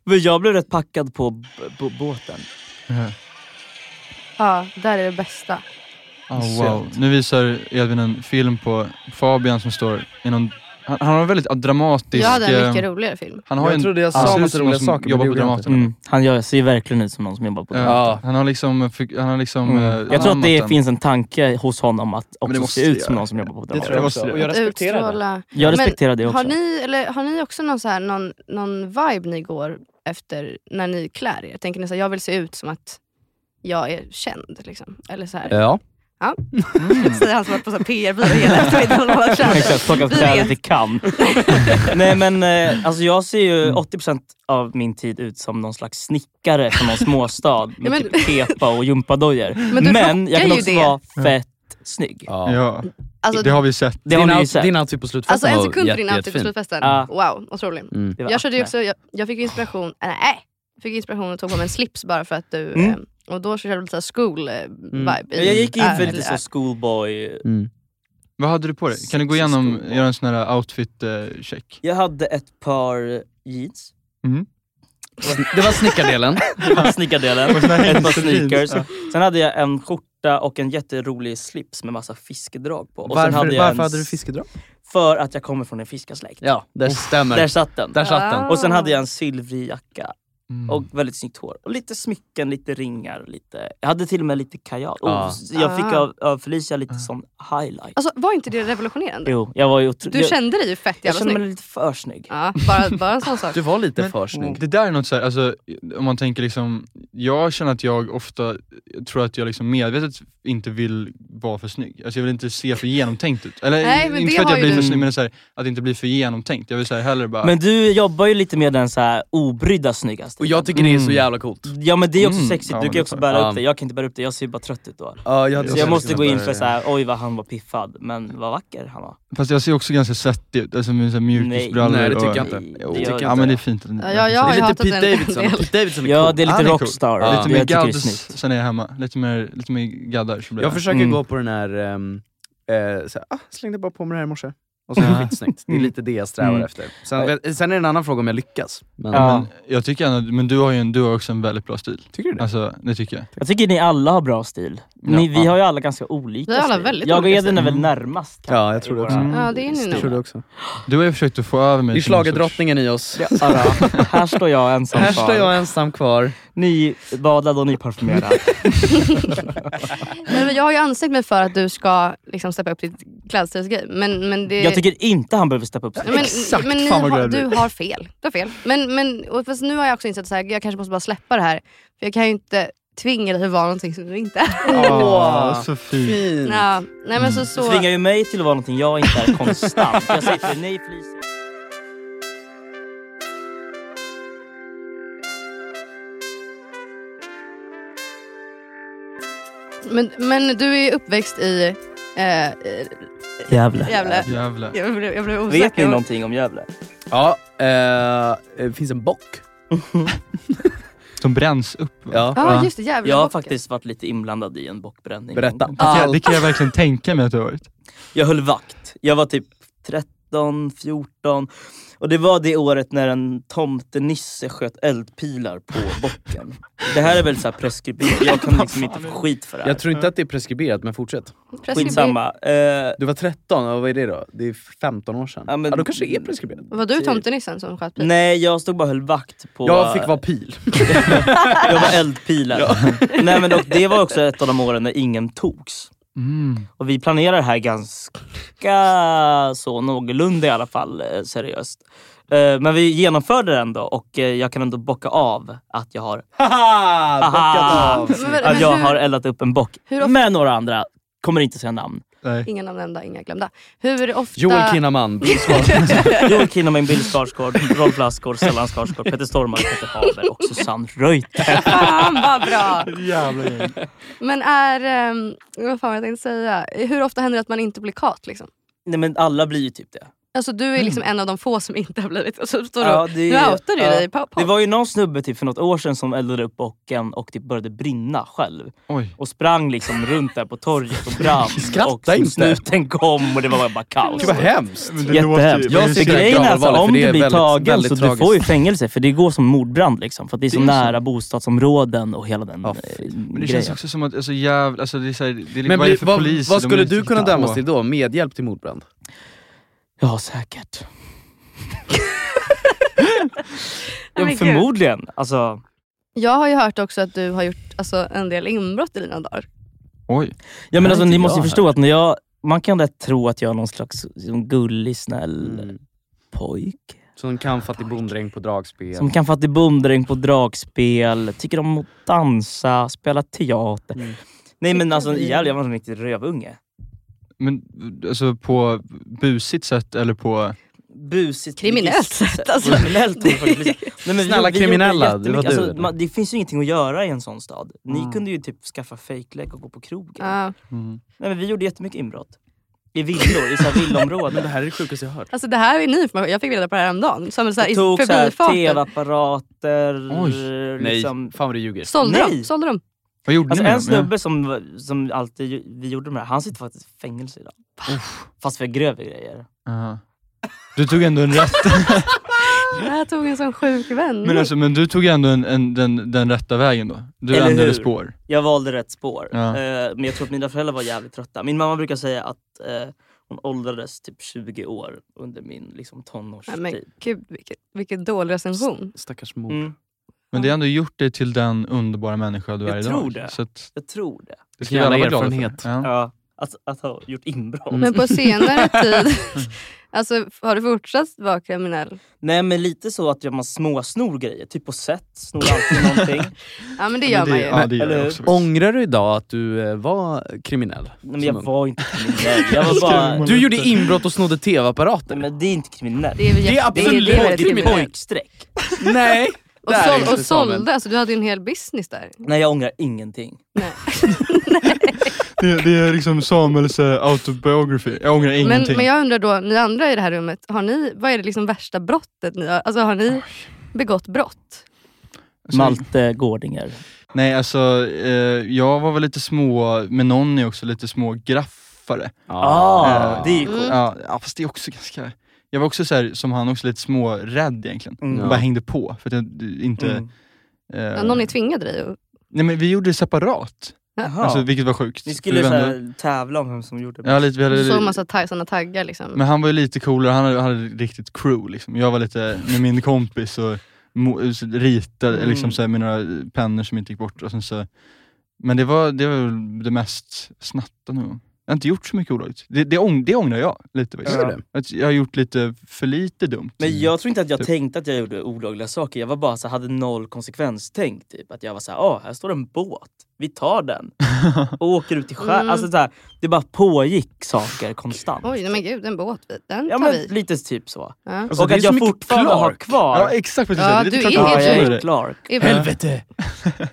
[SPEAKER 9] Men jag blev rätt packad på, b- på båten.
[SPEAKER 5] Ja, där är det bästa.
[SPEAKER 4] Oh, wow. Nu visar Edvin en film på Fabian som står i någon... Han, han har en väldigt dramatisk...
[SPEAKER 5] Jag hade en
[SPEAKER 4] eh,
[SPEAKER 5] mycket roligare film.
[SPEAKER 4] han har
[SPEAKER 6] Jag
[SPEAKER 4] en,
[SPEAKER 6] trodde jag sa
[SPEAKER 4] han ser
[SPEAKER 6] massa
[SPEAKER 4] ut som någon
[SPEAKER 6] roliga
[SPEAKER 4] som
[SPEAKER 6] saker, men
[SPEAKER 4] jobbar
[SPEAKER 6] det
[SPEAKER 4] på
[SPEAKER 6] gjorde jag
[SPEAKER 4] Dramaten.
[SPEAKER 9] Mm. Han gör, ser ju verkligen ut som någon som jobbar på
[SPEAKER 4] Ja,
[SPEAKER 9] det.
[SPEAKER 4] Han har liksom... Han har liksom
[SPEAKER 9] Mm.
[SPEAKER 4] eh,
[SPEAKER 9] Jag tror att det
[SPEAKER 4] anammat den.
[SPEAKER 9] finns en tanke hos honom att
[SPEAKER 4] det
[SPEAKER 9] också
[SPEAKER 4] måste
[SPEAKER 9] se
[SPEAKER 4] det
[SPEAKER 9] ut som
[SPEAKER 4] göra.
[SPEAKER 9] någon som jobbar på
[SPEAKER 6] Det
[SPEAKER 9] Dramaten.
[SPEAKER 6] tror jag också. Och jag
[SPEAKER 5] Att
[SPEAKER 6] respekterar det.
[SPEAKER 5] utstråla.
[SPEAKER 9] Jag
[SPEAKER 5] Men
[SPEAKER 9] respekterar det också.
[SPEAKER 5] Har ni, eller, har ni också någon, så här, någon, någon vibe ni går efter när ni klär er? Tänker ni så här, jag vill se ut som att jag är känd? Liksom. Eller så här.
[SPEAKER 6] Ja.
[SPEAKER 5] Ja. Säger han som har varit på så här PR-byrå hela eftermiddagen och hållit känd.
[SPEAKER 9] Mm. Exakt, plockat
[SPEAKER 5] Vi
[SPEAKER 9] kläder
[SPEAKER 5] vet.
[SPEAKER 9] till kan. Nej men eh, alltså jag ser ju 80% av min tid ut som någon slags snickare från någon småstad med
[SPEAKER 5] Ja, men-
[SPEAKER 9] typ kepa och gympadojor.
[SPEAKER 5] Men du
[SPEAKER 9] jag
[SPEAKER 5] rockar
[SPEAKER 9] kan
[SPEAKER 5] ju
[SPEAKER 9] också
[SPEAKER 5] det.
[SPEAKER 9] vara fett snygg.
[SPEAKER 4] Ja,
[SPEAKER 5] Alltså,
[SPEAKER 4] det har vi sett.
[SPEAKER 9] Det har
[SPEAKER 6] din,
[SPEAKER 9] ni ju
[SPEAKER 6] out,
[SPEAKER 9] sett.
[SPEAKER 6] din outfit på slutfesten
[SPEAKER 5] alltså en
[SPEAKER 6] var
[SPEAKER 5] sekund för
[SPEAKER 6] jätte,
[SPEAKER 5] din outfit på
[SPEAKER 6] jättefin.
[SPEAKER 5] slutfesten.
[SPEAKER 9] Ja.
[SPEAKER 5] Wow, otrolig.
[SPEAKER 6] Mm.
[SPEAKER 9] Det var-
[SPEAKER 5] Jag körde ju
[SPEAKER 9] nej.
[SPEAKER 5] också, jag, jag fick ju inspiration, äh, nej, jag fick inspiration och tog på mig en slips bara för att du,
[SPEAKER 9] Mm.
[SPEAKER 5] eh, och då körde jag lite så här school eh, vibe. i-
[SPEAKER 9] Jag gick in för
[SPEAKER 5] äh,
[SPEAKER 9] lite så
[SPEAKER 5] äh,
[SPEAKER 9] schoolboy...
[SPEAKER 6] Mm.
[SPEAKER 4] Vad hade du på dig? Kan du gå igenom, göra en sån här eh, outfit-check?
[SPEAKER 9] Jag hade ett par jeans.
[SPEAKER 6] Det var snickardelen.
[SPEAKER 9] Det var snickardelen. ett par sneakers. Sen hade jag en skjorta och en jätterolig slips med massa fiskedrag på. Och
[SPEAKER 6] varför
[SPEAKER 9] sen hade jag
[SPEAKER 6] varför
[SPEAKER 9] en-
[SPEAKER 6] hade du fiskedrag?
[SPEAKER 9] För att jag kommer från en fiskarsläkt.
[SPEAKER 6] Ja, där stämmer.
[SPEAKER 9] Där satt den.
[SPEAKER 6] Där Mm. satt
[SPEAKER 5] Ah.
[SPEAKER 6] den.
[SPEAKER 9] Och sen hade jag en silvrig jacka
[SPEAKER 4] Mm.
[SPEAKER 9] och väldigt snyggt hår. Och lite smycken, lite ringar. Lite... Jag hade till och med lite kajal. Och
[SPEAKER 6] Ja.
[SPEAKER 9] jag fick
[SPEAKER 5] Ah.
[SPEAKER 9] av, av Felicia lite sån highlight.
[SPEAKER 5] Alltså var inte det revolutionerande?
[SPEAKER 9] Jo, jag var ju otro...
[SPEAKER 5] Du
[SPEAKER 9] jag,
[SPEAKER 5] kände dig ju fett
[SPEAKER 9] jag
[SPEAKER 5] jävla
[SPEAKER 9] kände
[SPEAKER 5] snygg.
[SPEAKER 9] mig lite för snygg.
[SPEAKER 5] Ja, bara, bara en sån sak.
[SPEAKER 6] Du var lite
[SPEAKER 4] Men-
[SPEAKER 6] för snygg.
[SPEAKER 9] Mm.
[SPEAKER 4] Det där är något så här, alltså, om man tänker liksom, jag känner att jag ofta jag tror att jag liksom medvetet inte vill vara för snygg. Alltså jag vill inte se för genomtänkt ut. Eller
[SPEAKER 5] Nej, men
[SPEAKER 4] inte
[SPEAKER 5] det
[SPEAKER 4] för att jag
[SPEAKER 5] har ju
[SPEAKER 4] blir för
[SPEAKER 5] du-
[SPEAKER 4] snygg, men så här, att inte bli för genomtänkt. Jag vill så här, hellre bara...
[SPEAKER 9] Men du jobbar ju lite med den så här obrydda snyggaste.
[SPEAKER 6] Och jag tycker det är så jävla coolt.
[SPEAKER 9] Ja men det är också
[SPEAKER 4] Mm.
[SPEAKER 9] sexigt,
[SPEAKER 4] Ja,
[SPEAKER 9] du
[SPEAKER 4] men
[SPEAKER 9] kan ju
[SPEAKER 4] det
[SPEAKER 9] också
[SPEAKER 4] tar-
[SPEAKER 9] bära
[SPEAKER 6] Ja.
[SPEAKER 9] Mm. upp det. Jag kan inte bära upp det, jag ser ju bara trött ut då.
[SPEAKER 6] Ja, jag hade
[SPEAKER 9] Så
[SPEAKER 6] också
[SPEAKER 9] jag måste
[SPEAKER 6] kunnat
[SPEAKER 9] gå in
[SPEAKER 6] börja-
[SPEAKER 9] för såhär, oj vad han var piffad, men vad vacker han var.
[SPEAKER 4] Fast jag ser också ganska svettig ut, alltså med så här mjukisbrallor
[SPEAKER 6] Nej, det tycker jag
[SPEAKER 4] och...
[SPEAKER 6] inte.
[SPEAKER 9] Nej,
[SPEAKER 4] Jo,
[SPEAKER 9] det gör jag
[SPEAKER 4] ja
[SPEAKER 9] inte.
[SPEAKER 4] men det är fint.
[SPEAKER 5] Ja, ja, jag
[SPEAKER 6] Det
[SPEAKER 5] har
[SPEAKER 6] är
[SPEAKER 5] ju
[SPEAKER 6] lite
[SPEAKER 5] hatat
[SPEAKER 6] Pete
[SPEAKER 5] den en
[SPEAKER 6] Davidson.
[SPEAKER 5] del.
[SPEAKER 6] Pete Davidson är
[SPEAKER 9] Ja
[SPEAKER 6] cool.
[SPEAKER 9] det är lite
[SPEAKER 4] Han är cool.
[SPEAKER 9] rockstar.
[SPEAKER 6] Ja.
[SPEAKER 4] Lite
[SPEAKER 9] Jag
[SPEAKER 4] mer
[SPEAKER 9] tycker det är
[SPEAKER 4] gads,
[SPEAKER 9] snyggt.
[SPEAKER 4] sen är jag hemma. Lite mer, lite mer gaddar så blir
[SPEAKER 6] Jag försöker
[SPEAKER 9] Mm.
[SPEAKER 6] gå på den här, ehm, eh, såhär, ah, slängde bara på mig det här i morse. Och så är det
[SPEAKER 4] Ja.
[SPEAKER 6] skitsnyggt. Det är lite det jag strävar
[SPEAKER 9] Mm.
[SPEAKER 6] efter. Sen, vet- sen är det en annan fråga om jag lyckas. Men,
[SPEAKER 9] Ja.
[SPEAKER 6] men,
[SPEAKER 4] Jag tycker ändå, men du har ju en, du har också en väldigt bra stil.
[SPEAKER 6] tycker du det?
[SPEAKER 4] Alltså det tycker jag.
[SPEAKER 9] Jag tycker ni alla har bra stil. Ni, vi har ju alla ganska olika
[SPEAKER 5] Vi har alla
[SPEAKER 9] stil.
[SPEAKER 5] väldigt
[SPEAKER 9] Jag och
[SPEAKER 5] olika
[SPEAKER 9] Edvin är
[SPEAKER 5] stil.
[SPEAKER 4] Mm.
[SPEAKER 9] väl närmast kanske.
[SPEAKER 6] Ja, jag tror det också.
[SPEAKER 9] Mm.
[SPEAKER 5] Ja, det är ni
[SPEAKER 6] Jag tror
[SPEAKER 5] nog.
[SPEAKER 6] det också.
[SPEAKER 4] Du har ju försökt att få över mig
[SPEAKER 6] Det är
[SPEAKER 4] till någon
[SPEAKER 6] schlagerdrottningen i oss.
[SPEAKER 9] Ja, då. här står jag ensam
[SPEAKER 6] Här
[SPEAKER 9] kvar.
[SPEAKER 6] står jag ensam kvar.
[SPEAKER 9] Ni badad och ni parfymerad.
[SPEAKER 5] Men jag har ju ansträngt mig för att du ska liksom steppa upp ditt klädstilsgrej. Men, men det...
[SPEAKER 9] Jag tycker inte han behöver steppa upp sig.
[SPEAKER 5] Nej, men,
[SPEAKER 4] Exakt,
[SPEAKER 5] men ni
[SPEAKER 4] fan vad
[SPEAKER 5] har,
[SPEAKER 4] glad jag
[SPEAKER 5] du
[SPEAKER 4] blir.
[SPEAKER 5] har fel. Du har fel. Men, men och fast nu har jag också insett att jag kanske måste bara släppa det här. För jag kan ju inte tvinga dig att vara någonting som du inte är.
[SPEAKER 4] Åh, Ah, så fint.
[SPEAKER 6] Fint.
[SPEAKER 5] Ja, nej, men så,
[SPEAKER 9] Du
[SPEAKER 5] så.
[SPEAKER 9] Mm. tvingar ju mig till att vara någonting jag inte är konstant. Jag sitter nej Felicia.
[SPEAKER 5] Men, men du är ju uppväxt i... Eh, eh,
[SPEAKER 9] Gävle.
[SPEAKER 5] Gävle.
[SPEAKER 4] Jävlar.
[SPEAKER 5] Jag blev, jag blev osäker.
[SPEAKER 9] Vet ni någonting om Gävle?
[SPEAKER 6] Ja, eh, det finns en bock.
[SPEAKER 4] Som bränns upp. va?
[SPEAKER 6] Ja.
[SPEAKER 5] Ja, just det. Gävle.
[SPEAKER 9] Jag har faktiskt varit lite inblandad i en Ah, bockbränning.
[SPEAKER 6] Berätta. Alltså,
[SPEAKER 4] Det kan jag-
[SPEAKER 6] Allt.
[SPEAKER 4] Det kan jag verkligen tänka mig att du har varit.
[SPEAKER 9] Jag höll vakt. Jag var typ 13, 14. Och det var det året när en tomtenisse sköt eldpilar på bocken. Det här är väl så här preskriberat. Jag kan liksom inte få skit för det här.
[SPEAKER 6] Jag tror inte att det är preskriberat, men fortsätt.
[SPEAKER 9] Skitsamma. Eh,
[SPEAKER 6] Du var 13, och vad är det då? Det är 15 år sedan.
[SPEAKER 9] Ja,
[SPEAKER 6] Ja,
[SPEAKER 9] men-
[SPEAKER 6] då kanske det är preskriberat.
[SPEAKER 5] Var
[SPEAKER 9] Typ.
[SPEAKER 5] du tomtenissen som sköt pil?
[SPEAKER 9] nej, jag stod bara och höll vakt på...
[SPEAKER 6] Jag fick vara pil.
[SPEAKER 9] Jag var eldpilar. Nej, men och det var också ett av de åren när ingen togs.
[SPEAKER 6] Mm.
[SPEAKER 9] Och vi planerar det här ganska så någorlunda i alla fall eh, seriöst. Eh, Men vi genomförde det ändå och eh, jag kan ändå bocka av att jag har,
[SPEAKER 6] Haha!
[SPEAKER 9] Haha!
[SPEAKER 6] Bockat av.
[SPEAKER 5] Men- men
[SPEAKER 9] att Mm. jag
[SPEAKER 5] hur-
[SPEAKER 9] har eldat upp en bock
[SPEAKER 5] hur ofta-
[SPEAKER 9] med några andra. Kommer inte säga namn.
[SPEAKER 4] Nej.
[SPEAKER 5] Inga namn nämnda, inga glömda. Hur ofta...
[SPEAKER 6] Joel Kinnaman.
[SPEAKER 9] Joel Kinnaman, Bill Skarsgård, Rolf Lassgård, Stellan Skarsgård, Peter Stormare, Peter Haber och Susanne Reuter.
[SPEAKER 5] Fan vad bra!
[SPEAKER 4] Jävla gäng.
[SPEAKER 5] Men är... ehm, vad fan var jag tänkte säga? Hur ofta händer det att man inte blir kat? Liksom?
[SPEAKER 9] Nej men alla blir ju typ det.
[SPEAKER 5] Alltså du är liksom
[SPEAKER 9] Mm.
[SPEAKER 5] en av de få som inte har blivit... Och så står du
[SPEAKER 9] Ja, det-
[SPEAKER 5] ja, Nu outar du
[SPEAKER 9] ja.
[SPEAKER 5] dig på, på.
[SPEAKER 9] Det var ju någon snubbe typ för något år sedan som eldade upp bocken och typ började brinna själv.
[SPEAKER 4] Oj.
[SPEAKER 9] Och sprang liksom runt där på torget och brann.
[SPEAKER 6] Skratta
[SPEAKER 9] och som
[SPEAKER 6] inte.
[SPEAKER 9] snuten kom och det var bara kaos.
[SPEAKER 6] Gud vad hemskt.
[SPEAKER 9] Jättehemskt.
[SPEAKER 6] låter ju-
[SPEAKER 9] Jag
[SPEAKER 6] det är
[SPEAKER 9] tycker grejen är
[SPEAKER 6] säkert
[SPEAKER 9] alltså,
[SPEAKER 6] allvarligt,
[SPEAKER 9] om
[SPEAKER 6] för det
[SPEAKER 9] du
[SPEAKER 6] är
[SPEAKER 9] blir
[SPEAKER 6] väldigt-
[SPEAKER 9] tagen
[SPEAKER 6] väldigt
[SPEAKER 9] så du
[SPEAKER 6] tragiskt.
[SPEAKER 9] får ju fängelse för det går som mordbrand liksom. För att det är så
[SPEAKER 4] Det är
[SPEAKER 9] nära bostadsområden och hela den
[SPEAKER 6] Ja,
[SPEAKER 9] eh,
[SPEAKER 6] fy.
[SPEAKER 4] Men det känns
[SPEAKER 9] grejen.
[SPEAKER 4] också som att, alltså jävla, alltså det är såhär, det är
[SPEAKER 6] Men
[SPEAKER 4] men, vad är det
[SPEAKER 6] bli,
[SPEAKER 4] för
[SPEAKER 6] vad,
[SPEAKER 4] polis?
[SPEAKER 6] vad
[SPEAKER 4] De
[SPEAKER 6] skulle
[SPEAKER 4] är
[SPEAKER 6] du kunna
[SPEAKER 4] titta
[SPEAKER 6] dömas
[SPEAKER 4] på.
[SPEAKER 6] till då? Medhjälp till mordbrand?
[SPEAKER 9] Ja, säkert.
[SPEAKER 5] men
[SPEAKER 9] ja,
[SPEAKER 5] gud.
[SPEAKER 9] förmodligen. Alltså,
[SPEAKER 5] Jag har ju hört också att du har gjort alltså, en del inbrott i dina dagar.
[SPEAKER 4] Oj.
[SPEAKER 9] ja, men
[SPEAKER 6] Nej,
[SPEAKER 9] alltså
[SPEAKER 6] inte
[SPEAKER 9] ni måste ju
[SPEAKER 6] jag
[SPEAKER 9] förstå att när jag, man kan lätt tro att jag är någon slags liksom, gullig, snäll
[SPEAKER 6] Mm.
[SPEAKER 9] pojke.
[SPEAKER 6] Som kan fattig bonddräng på dragspel.
[SPEAKER 9] Som kan fatta bonddräng på dragspel, tycker om att dansa, spela teater.
[SPEAKER 6] Mm.
[SPEAKER 9] Nej men alltså i Gävle, jag var en riktig rövunge.
[SPEAKER 4] Men alltså på busigt sätt eller på...
[SPEAKER 9] Busigt.
[SPEAKER 5] Kriminellt
[SPEAKER 9] visst
[SPEAKER 5] sätt, alltså.
[SPEAKER 9] Kriminellt ord för polisen. Nej, men
[SPEAKER 6] Snälla
[SPEAKER 9] gjorde
[SPEAKER 6] kriminella,
[SPEAKER 9] jättemycket-
[SPEAKER 6] det var du.
[SPEAKER 9] Alltså, man, det finns ju ingenting att göra i en sån stad. Ni kunde ju typ skaffa fejklägg och gå på krogen.
[SPEAKER 5] Ja.
[SPEAKER 9] Nej, men vi gjorde jättemycket inbrott. I villor, i så här villområden.
[SPEAKER 6] här är det sjukaste jag hört.
[SPEAKER 5] Alltså det här är ny information. Jag fick reda på det här häromdagen. Som en så här, i
[SPEAKER 9] Vi tog så här
[SPEAKER 5] förbifarten.
[SPEAKER 9] tv-apparater.
[SPEAKER 4] Oj,
[SPEAKER 6] Nej,
[SPEAKER 9] liksom.
[SPEAKER 6] fan vad du ljuger.
[SPEAKER 5] Sålde
[SPEAKER 9] Nej.
[SPEAKER 5] de? Sålde de?
[SPEAKER 4] Vad gjorde
[SPEAKER 9] Alltså
[SPEAKER 4] ni med
[SPEAKER 9] en
[SPEAKER 4] dem?
[SPEAKER 9] snubbe
[SPEAKER 4] Ja.
[SPEAKER 9] som, som alltid ju- vi gjorde med det här, han sitter faktiskt i fängelse idag. Fast för grövre grejer.
[SPEAKER 4] Aha. Du tog ändå en rätt,
[SPEAKER 5] Det här tog en sån sjuk vändning.
[SPEAKER 4] men, alltså, men du tog ändå en, en, den, den rätta vägen då? Du
[SPEAKER 9] Eller
[SPEAKER 4] ändrade
[SPEAKER 9] hur?
[SPEAKER 4] spår?
[SPEAKER 9] Jag valde rätt spår.
[SPEAKER 4] Ja.
[SPEAKER 9] Eh, men jag tror att mina föräldrar var jävligt trötta. Min mamma brukar säga att eh, hon åldrades typ 20 år under min liksom,
[SPEAKER 5] Nej, men
[SPEAKER 9] tonårstid.
[SPEAKER 5] gud vilken, vilken dålig recension.
[SPEAKER 6] Stackars mor.
[SPEAKER 9] Mm,
[SPEAKER 4] Men det har ändå gjort dig till den underbara människa du
[SPEAKER 9] Jag
[SPEAKER 4] är idag.
[SPEAKER 9] tror det.
[SPEAKER 4] Så att,
[SPEAKER 9] jag tror det.
[SPEAKER 4] det ska vi
[SPEAKER 6] Vilken
[SPEAKER 4] alla
[SPEAKER 6] jävla
[SPEAKER 4] vara glada
[SPEAKER 6] erfarenhet.
[SPEAKER 4] för. Ja.
[SPEAKER 9] Ja. Att, att ha gjort inbrott.
[SPEAKER 5] Men på senare tid, alltså, har du fortsatt vara kriminell?
[SPEAKER 9] Nej men lite så att man småsnor grejer. Typ på set, snor alltid någonting.
[SPEAKER 5] Ja men det gör
[SPEAKER 4] Men
[SPEAKER 5] man
[SPEAKER 4] det,
[SPEAKER 5] ju.
[SPEAKER 4] ja, det gör
[SPEAKER 9] Eller
[SPEAKER 4] jag
[SPEAKER 9] hur?
[SPEAKER 4] också. faktiskt.
[SPEAKER 6] Ångrar du idag att du eh, var kriminell?
[SPEAKER 9] Nej, men
[SPEAKER 6] som
[SPEAKER 9] jag
[SPEAKER 6] ung?
[SPEAKER 9] var inte kriminell. Jag var bara...
[SPEAKER 6] Du gjorde inbrott och snodde
[SPEAKER 9] Nej,
[SPEAKER 6] tv-apparater.
[SPEAKER 9] men det är inte kriminellt.
[SPEAKER 5] Det är, väl
[SPEAKER 6] Det är
[SPEAKER 5] jätte-
[SPEAKER 6] absolut
[SPEAKER 5] det är väldigt
[SPEAKER 6] kriminellt.
[SPEAKER 5] kriminellt.
[SPEAKER 9] pojkstreck.
[SPEAKER 6] Nej!
[SPEAKER 5] Och,
[SPEAKER 6] Där är
[SPEAKER 5] såld,
[SPEAKER 6] inte
[SPEAKER 5] och
[SPEAKER 6] Samuel.
[SPEAKER 5] sålde, alltså, du hade ju en hel business där.
[SPEAKER 9] Nej jag ångrar ingenting.
[SPEAKER 5] Nej.
[SPEAKER 4] Det, det är liksom Samuels eh, autobiography. Jag ångrar
[SPEAKER 5] Men,
[SPEAKER 4] ingenting.
[SPEAKER 5] men jag undrar då, ni andra i det här rummet, har ni, vad är det liksom värsta brottet ni har, alltså, har ni begått brott?
[SPEAKER 4] Alltså,
[SPEAKER 9] Malte Gårdinger.
[SPEAKER 4] Nej, alltså eh, jag var väl lite små, med Nonny också, lite små graffare.
[SPEAKER 9] Ah, det är ju
[SPEAKER 5] Mm.
[SPEAKER 9] coolt.
[SPEAKER 4] Ja, ja, fast det är också ganska... Jag var också så här, som han, också lite smårädd egentligen.
[SPEAKER 9] Mm.
[SPEAKER 4] Jag bara hängde på för att jag inte...
[SPEAKER 9] Mm.
[SPEAKER 4] eh,
[SPEAKER 5] Någon ni tvingade dig? att-
[SPEAKER 4] Nej men vi gjorde det separat.
[SPEAKER 6] Jaha.
[SPEAKER 4] Alltså, vilket var sjukt.
[SPEAKER 6] Ni
[SPEAKER 4] Vi
[SPEAKER 6] skulle
[SPEAKER 4] vände-
[SPEAKER 6] såhär, tävla om vem som gjorde det
[SPEAKER 4] Ja, lite, vi
[SPEAKER 5] Du
[SPEAKER 4] hade,
[SPEAKER 5] såg massa tag- såna taggar liksom.
[SPEAKER 4] men han var ju lite coolare, han hade, hade riktigt crew liksom. Jag var lite med min kompis och mo- så ritade
[SPEAKER 6] Mm.
[SPEAKER 4] liksom, så här, med några pennor som inte gick bort. Och sen, så, men det var, det var väl det mest snatta nog. Jag har inte gjort så mycket olagligt. Det, det, ång, det ångrar jag lite faktiskt.
[SPEAKER 6] Gör du
[SPEAKER 4] Att jag har gjort lite för lite dumt.
[SPEAKER 6] Men jag tror inte att jag
[SPEAKER 4] Typ.
[SPEAKER 6] tänkte att jag gjorde olagliga saker. Jag var bara så hade noll konsekvenstänk. Typ. Att jag var så här, ah, här står en båt. Vi tar den och åker ut i skär.
[SPEAKER 5] Mm.
[SPEAKER 6] Alltså, så här, det bara pågick saker konstant.
[SPEAKER 5] Oj, nej men gud, en båt. Den
[SPEAKER 6] Ja
[SPEAKER 5] tar
[SPEAKER 6] men
[SPEAKER 5] vi.
[SPEAKER 6] lite typ så.
[SPEAKER 5] Ja.
[SPEAKER 12] Alltså,
[SPEAKER 6] och att jag fortfarande har kvar...
[SPEAKER 4] Ja exakt vad jag säger.
[SPEAKER 5] Ja,
[SPEAKER 4] Det
[SPEAKER 5] du
[SPEAKER 4] är klart
[SPEAKER 5] är
[SPEAKER 4] att
[SPEAKER 5] helt
[SPEAKER 6] Ja,
[SPEAKER 4] jag
[SPEAKER 6] jag
[SPEAKER 4] gör
[SPEAKER 6] är
[SPEAKER 4] det.
[SPEAKER 6] klar.
[SPEAKER 5] Är bra.
[SPEAKER 12] Helvete!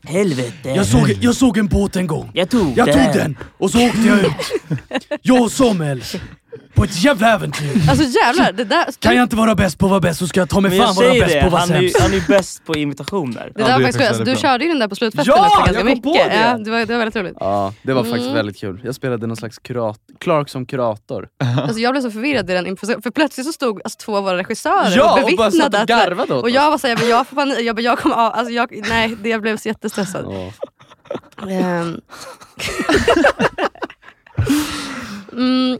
[SPEAKER 6] Helvete.
[SPEAKER 12] Jag såg, jag såg en båt en gång.
[SPEAKER 6] Jag tog
[SPEAKER 12] Jag
[SPEAKER 6] den.
[SPEAKER 12] tog den och så åkte jag ut. Jag och Sommel. På ett jävla äventyr.
[SPEAKER 5] Alltså jävlar, det där,
[SPEAKER 12] Kan jag inte vara bäst på att vara bäst så ska jag ta mig
[SPEAKER 6] Men jag
[SPEAKER 12] fan vara
[SPEAKER 6] säger
[SPEAKER 12] bäst
[SPEAKER 6] det,
[SPEAKER 12] på att vara
[SPEAKER 6] han är, ju,
[SPEAKER 12] sämst.
[SPEAKER 6] han är ju bäst på imitationer.
[SPEAKER 5] det
[SPEAKER 13] Ja,
[SPEAKER 5] där var
[SPEAKER 13] det är
[SPEAKER 5] faktiskt
[SPEAKER 13] faktiskt
[SPEAKER 5] kul. Du
[SPEAKER 13] väldigt
[SPEAKER 5] körde ju den där på slutfesten
[SPEAKER 13] Ja,
[SPEAKER 5] också
[SPEAKER 13] jag
[SPEAKER 5] ganska
[SPEAKER 13] kom
[SPEAKER 5] mycket.
[SPEAKER 13] på det.
[SPEAKER 5] Ja, det, var, det var väldigt roligt.
[SPEAKER 13] Ja, det var faktiskt
[SPEAKER 5] Mm.
[SPEAKER 13] väldigt kul. Jag spelade någon slags kurat Clark som kurator.
[SPEAKER 5] Alltså jag blev så förvirrad i den improvisationen, för plötsligt så stod alltså, två av våra regissörer
[SPEAKER 13] Ja,
[SPEAKER 5] och
[SPEAKER 13] och bara satt och
[SPEAKER 5] bevittnade
[SPEAKER 13] garvade åt
[SPEAKER 5] Och jag var såhär, jag, bara, jag får panik, jag, bara, jag kommer av, alltså jag, nej, det, jag blev så jättestressad.
[SPEAKER 13] Ja.
[SPEAKER 5] Ehm. mm,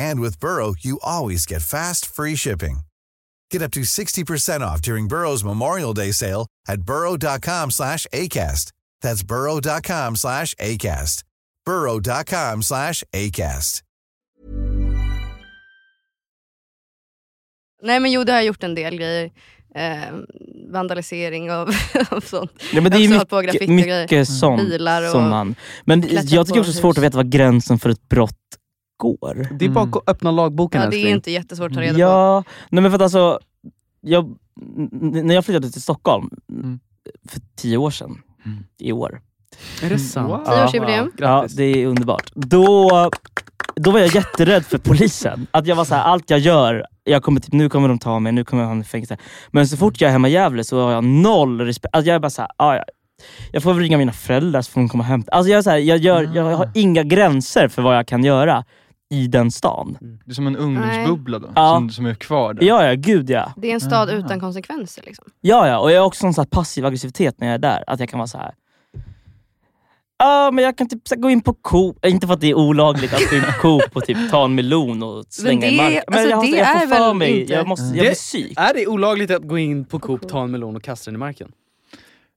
[SPEAKER 9] And with Burrow, you always get fast, free shipping. Get up to 60% off during Burrow's Memorial Day sale at burrow.com slash ACAST. That's burrow.com slash ACAST. burrow.com slash ACAST.
[SPEAKER 5] nej men jo, det har jag gjort en del grejer. Ehm, vandalisering av, av sånt.
[SPEAKER 6] Nej, men det är
[SPEAKER 5] Jag
[SPEAKER 6] ju
[SPEAKER 5] har också hållit på och
[SPEAKER 6] mycket,
[SPEAKER 5] graffiti och grejer. Mm.
[SPEAKER 6] mycket sånt
[SPEAKER 5] Bilar och
[SPEAKER 6] som man... Men
[SPEAKER 5] klättrat
[SPEAKER 6] jag tycker
[SPEAKER 5] på
[SPEAKER 6] också det är svårt
[SPEAKER 5] hus.
[SPEAKER 6] att veta var gränsen för ett brott går.
[SPEAKER 13] Det är bara att öppna lagboken
[SPEAKER 5] Ja, det
[SPEAKER 13] älskling.
[SPEAKER 5] är inte jättesvårt
[SPEAKER 6] Mm.
[SPEAKER 5] att ta reda på.
[SPEAKER 6] Ja, nej men för att alltså... Jag, n- n- när jag flyttade till Stockholm för tio år sedan, i år.
[SPEAKER 13] Är det sant?
[SPEAKER 6] Ja.
[SPEAKER 5] Tioårsjubileum.
[SPEAKER 6] Ja, det är underbart. Då, då var jag jätterädd för polisen. Att jag var så här, allt jag gör, jag kommer typ, nu kommer de ta mig, nu kommer jag hamna i fängelse. Men så fort jag är hemma i Gävle så har jag noll respekt. Alltså jag är bara så här, ah, ja. jag får väl ringa mina föräldrar så får de komma och hämta. Alltså jag, är så här, jag, gör, jag har inga gränser för vad jag kan göra i den stan.
[SPEAKER 4] Det är som en ungdomsbubbla då,
[SPEAKER 6] Ja.
[SPEAKER 4] som, som är kvar där.
[SPEAKER 6] Ja, ja, gud ja.
[SPEAKER 5] Det är en stad
[SPEAKER 6] Mm.
[SPEAKER 5] utan konsekvenser. Liksom.
[SPEAKER 6] Ja, ja. Och jag har också en sån här passiv aggressivitet när jag är där. Att jag kan vara så här. Ja, men jag kan typ så här gå in på Coop. Inte för att det är olagligt att gå in på Coop och typ ta en melon och slänga
[SPEAKER 5] det-
[SPEAKER 6] i marken. Men
[SPEAKER 5] alltså
[SPEAKER 6] jag, har-
[SPEAKER 5] det
[SPEAKER 6] jag
[SPEAKER 5] är
[SPEAKER 6] får för
[SPEAKER 5] väl
[SPEAKER 6] mig.
[SPEAKER 5] inte-
[SPEAKER 6] Jag, måste, jag blir psyk.
[SPEAKER 13] Är det olagligt att gå in på Coop, ta en melon och kasta den i marken?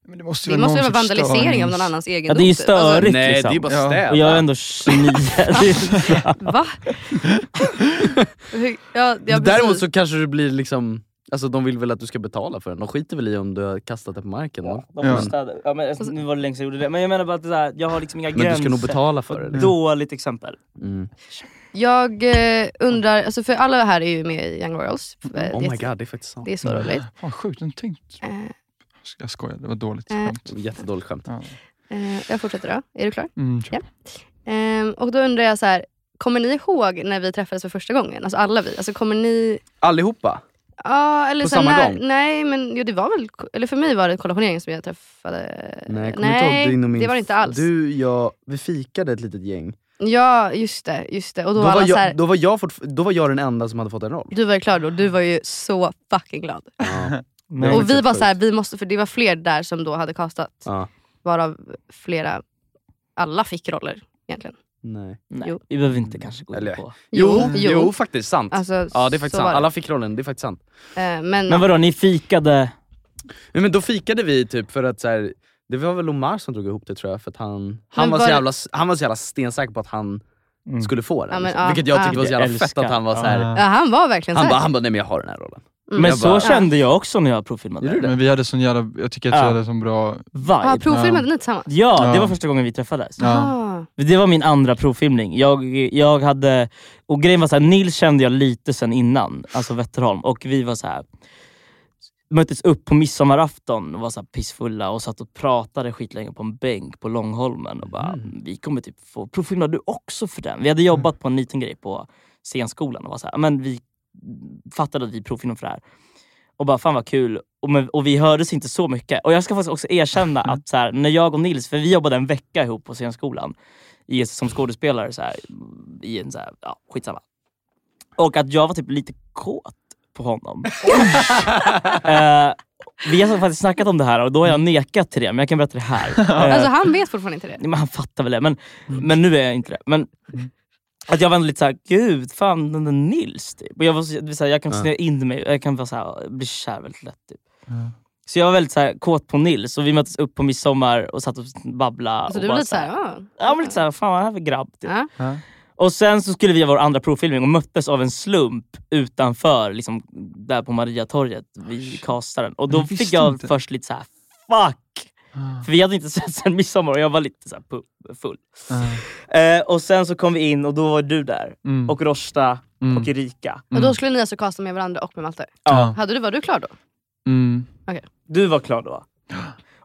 [SPEAKER 4] Men det måste
[SPEAKER 5] Det måste väl vara vandalisering av någon annans egendom.
[SPEAKER 6] Ja, det är ju
[SPEAKER 5] typ. Alltså,
[SPEAKER 6] störigt
[SPEAKER 13] Nej,
[SPEAKER 6] liksom.
[SPEAKER 13] det är bara städa.
[SPEAKER 6] Och jag är ändå 29. Det är-
[SPEAKER 5] Va? Hur- ja, ja,
[SPEAKER 13] Däremot
[SPEAKER 5] precis.
[SPEAKER 13] så kanske du blir liksom, alltså de vill väl att du ska betala för den. De skiter väl i om du har kastat den på marken. va? Mm.
[SPEAKER 6] De får städa. Ja, men, alltså, nu var det länge sedan jag gjorde det. Men jag menar bara att det där, jag har liksom inga
[SPEAKER 13] Men du
[SPEAKER 6] gränser.
[SPEAKER 13] ska nog betala för det, liksom. Mm.
[SPEAKER 6] Dåligt exempel.
[SPEAKER 5] Jag eh, undrar, alltså för alla här är ju med i Young Royals. Eh, det är
[SPEAKER 13] Oh my
[SPEAKER 5] jätte-
[SPEAKER 13] god, Mm. det är faktiskt sant.
[SPEAKER 5] Det är så roligt.
[SPEAKER 4] Fan sjukt, jag hade tänkt.
[SPEAKER 5] Eh,
[SPEAKER 4] Jag skojar, det var dåligt
[SPEAKER 5] Eh.
[SPEAKER 4] skämt.
[SPEAKER 13] Jättedåligt skämt.
[SPEAKER 4] Ja.
[SPEAKER 5] eh, jag fortsätter då. Är du klar?
[SPEAKER 4] Mm, kör.
[SPEAKER 5] Ja. Ehm, och då undrar jag så här, kommer ni ihåg när vi träffades för första gången? Alltså alla vi. Alltså kommer ni...
[SPEAKER 13] Allihopa?
[SPEAKER 5] Ja, eller
[SPEAKER 13] På
[SPEAKER 5] så här,
[SPEAKER 13] samma
[SPEAKER 5] när,
[SPEAKER 13] gång?
[SPEAKER 5] Nej, men jo, det var väl... Eller för mig var det kollationeringen som jag träffade...
[SPEAKER 13] Nej, jag kommer
[SPEAKER 5] Nej,
[SPEAKER 13] inte ihåg din och min...
[SPEAKER 5] det var det inte alls.
[SPEAKER 13] Du, jag, vi fikade ett litet gäng.
[SPEAKER 5] Ja, just det. Just det. Och då, var alla
[SPEAKER 13] var
[SPEAKER 5] så
[SPEAKER 13] jag,
[SPEAKER 5] här,
[SPEAKER 13] då, var jag fortfar- då var jag den enda som hade fått en roll.
[SPEAKER 5] Du var ju klar då. Du var ju så fucking glad.
[SPEAKER 13] Ja.
[SPEAKER 5] och vi var så här, vi måste... För det var fler där som då hade castat.
[SPEAKER 13] Ja.
[SPEAKER 5] Varav flera... Alla fick roller egentligen.
[SPEAKER 13] Nej.
[SPEAKER 6] Nej,
[SPEAKER 5] Jo.
[SPEAKER 6] vi behöver inte kanske gå in
[SPEAKER 13] Eller-
[SPEAKER 6] på.
[SPEAKER 13] Jo,
[SPEAKER 5] Jo,
[SPEAKER 13] jo,
[SPEAKER 5] jo.
[SPEAKER 13] faktiskt sant.
[SPEAKER 5] Alltså,
[SPEAKER 13] ja, det är faktiskt
[SPEAKER 5] så var
[SPEAKER 13] sant.
[SPEAKER 5] det.
[SPEAKER 13] Alla fick rollen, det är faktiskt sant.
[SPEAKER 5] Eh, men
[SPEAKER 6] Men vadå, ni fikade?
[SPEAKER 13] Men, men då fikade vi typ för att så här, det var väl Omar som drog ihop det tror jag, för att han, han, var,
[SPEAKER 5] Men var
[SPEAKER 13] så
[SPEAKER 5] det-
[SPEAKER 13] jävla, han var så jävla stensäker på att han skulle få den.
[SPEAKER 4] Mm.
[SPEAKER 5] Ja, men,
[SPEAKER 13] liksom.
[SPEAKER 5] ja,
[SPEAKER 13] Vilket jag tyckte
[SPEAKER 5] ja.
[SPEAKER 13] var så jävla
[SPEAKER 6] Jag
[SPEAKER 13] fett att
[SPEAKER 6] älskar.
[SPEAKER 13] han var så här.
[SPEAKER 5] ja, han var verkligen Mm.
[SPEAKER 13] Han
[SPEAKER 5] säker.
[SPEAKER 13] bara, han bara, nej men jag har den här rollen.
[SPEAKER 6] Men
[SPEAKER 4] Jag
[SPEAKER 6] så
[SPEAKER 4] bara-
[SPEAKER 6] kände jag också när jag provfilmade.
[SPEAKER 4] Gjorde du det? Men vi hade sån jävla, jag tycker att vi
[SPEAKER 6] Ja.
[SPEAKER 4] hade sån bra...
[SPEAKER 6] Vibe.
[SPEAKER 5] Ja, provfilmade ni tillsammans?
[SPEAKER 6] Ja, det
[SPEAKER 4] Ja.
[SPEAKER 6] var första gången vi träffades.
[SPEAKER 4] Ja.
[SPEAKER 5] Ah.
[SPEAKER 6] Det var min andra provfilmning. Jag, jag hade, och grejen var så här, Nils kände jag lite sen innan, alltså Wetterholm. Och vi var så här möttes upp på midsommarafton och var så här pissfulla och satt och pratade skitlänge på en bänk på Långholmen. Och bara, Vi kommer typ få provfilma du också för den. Vi hade jobbat på en liten grej på scenskolan och var så här, men vi fattade att vi provfilmade för det här. Och bara, fan vad kul. Och, men, och vi hördes inte så mycket. Och jag ska faktiskt också erkänna att så här, när jag och Nils, för vi jobbade en vecka ihop på scenskolan i, som skådespelare, så här, i en så här, ja, skitsamma. Och att jag var typ lite kåt på honom. Eh, vi har faktiskt snackat om det här och då har jag nekat till det, men jag kan berätta det här. Eh,
[SPEAKER 5] Alltså han vet fortfarande inte det.
[SPEAKER 6] Nej, men han fattar väl det. Men, men nu är jag inte det. Men att jag var ändå lite såhär, gud, fan den där Nils typ. Och jag, var så, det vill säga, jag kan
[SPEAKER 13] Ja.
[SPEAKER 6] snöa in mig, jag kan vara såhär, bli kär väldigt lätt. Typ. Så jag var väldigt såhär, kåt på Nils och vi möttes upp på midsommar och satt och babblade.
[SPEAKER 5] Alltså
[SPEAKER 6] och
[SPEAKER 5] du var
[SPEAKER 6] bara
[SPEAKER 5] lite såhär, ah.
[SPEAKER 6] Ja men lite såhär, fan vad är det här för grabb? Typ.
[SPEAKER 5] Ja.
[SPEAKER 6] Och sen så skulle vi göra vår andra provfilmning och möttes av en slump utanför, liksom, där på Mariatorget vid Kastaren. Och då
[SPEAKER 13] Jag visste
[SPEAKER 6] fick jag
[SPEAKER 13] inte.
[SPEAKER 6] först lite så här: fuck!
[SPEAKER 4] Ah.
[SPEAKER 6] För vi hade inte sett sen midsommar och jag var lite så här pu- full. Eh, och sen så kom vi in och då var du där.
[SPEAKER 4] Ah. Mm.
[SPEAKER 6] Och Rosta
[SPEAKER 4] Mm.
[SPEAKER 6] och Erika.
[SPEAKER 5] Och då skulle ni alltså casta med varandra och med Malte?
[SPEAKER 6] Ja.
[SPEAKER 5] Hade du, var du klar då?
[SPEAKER 4] Mm.
[SPEAKER 5] Okej.
[SPEAKER 6] Du var klar då.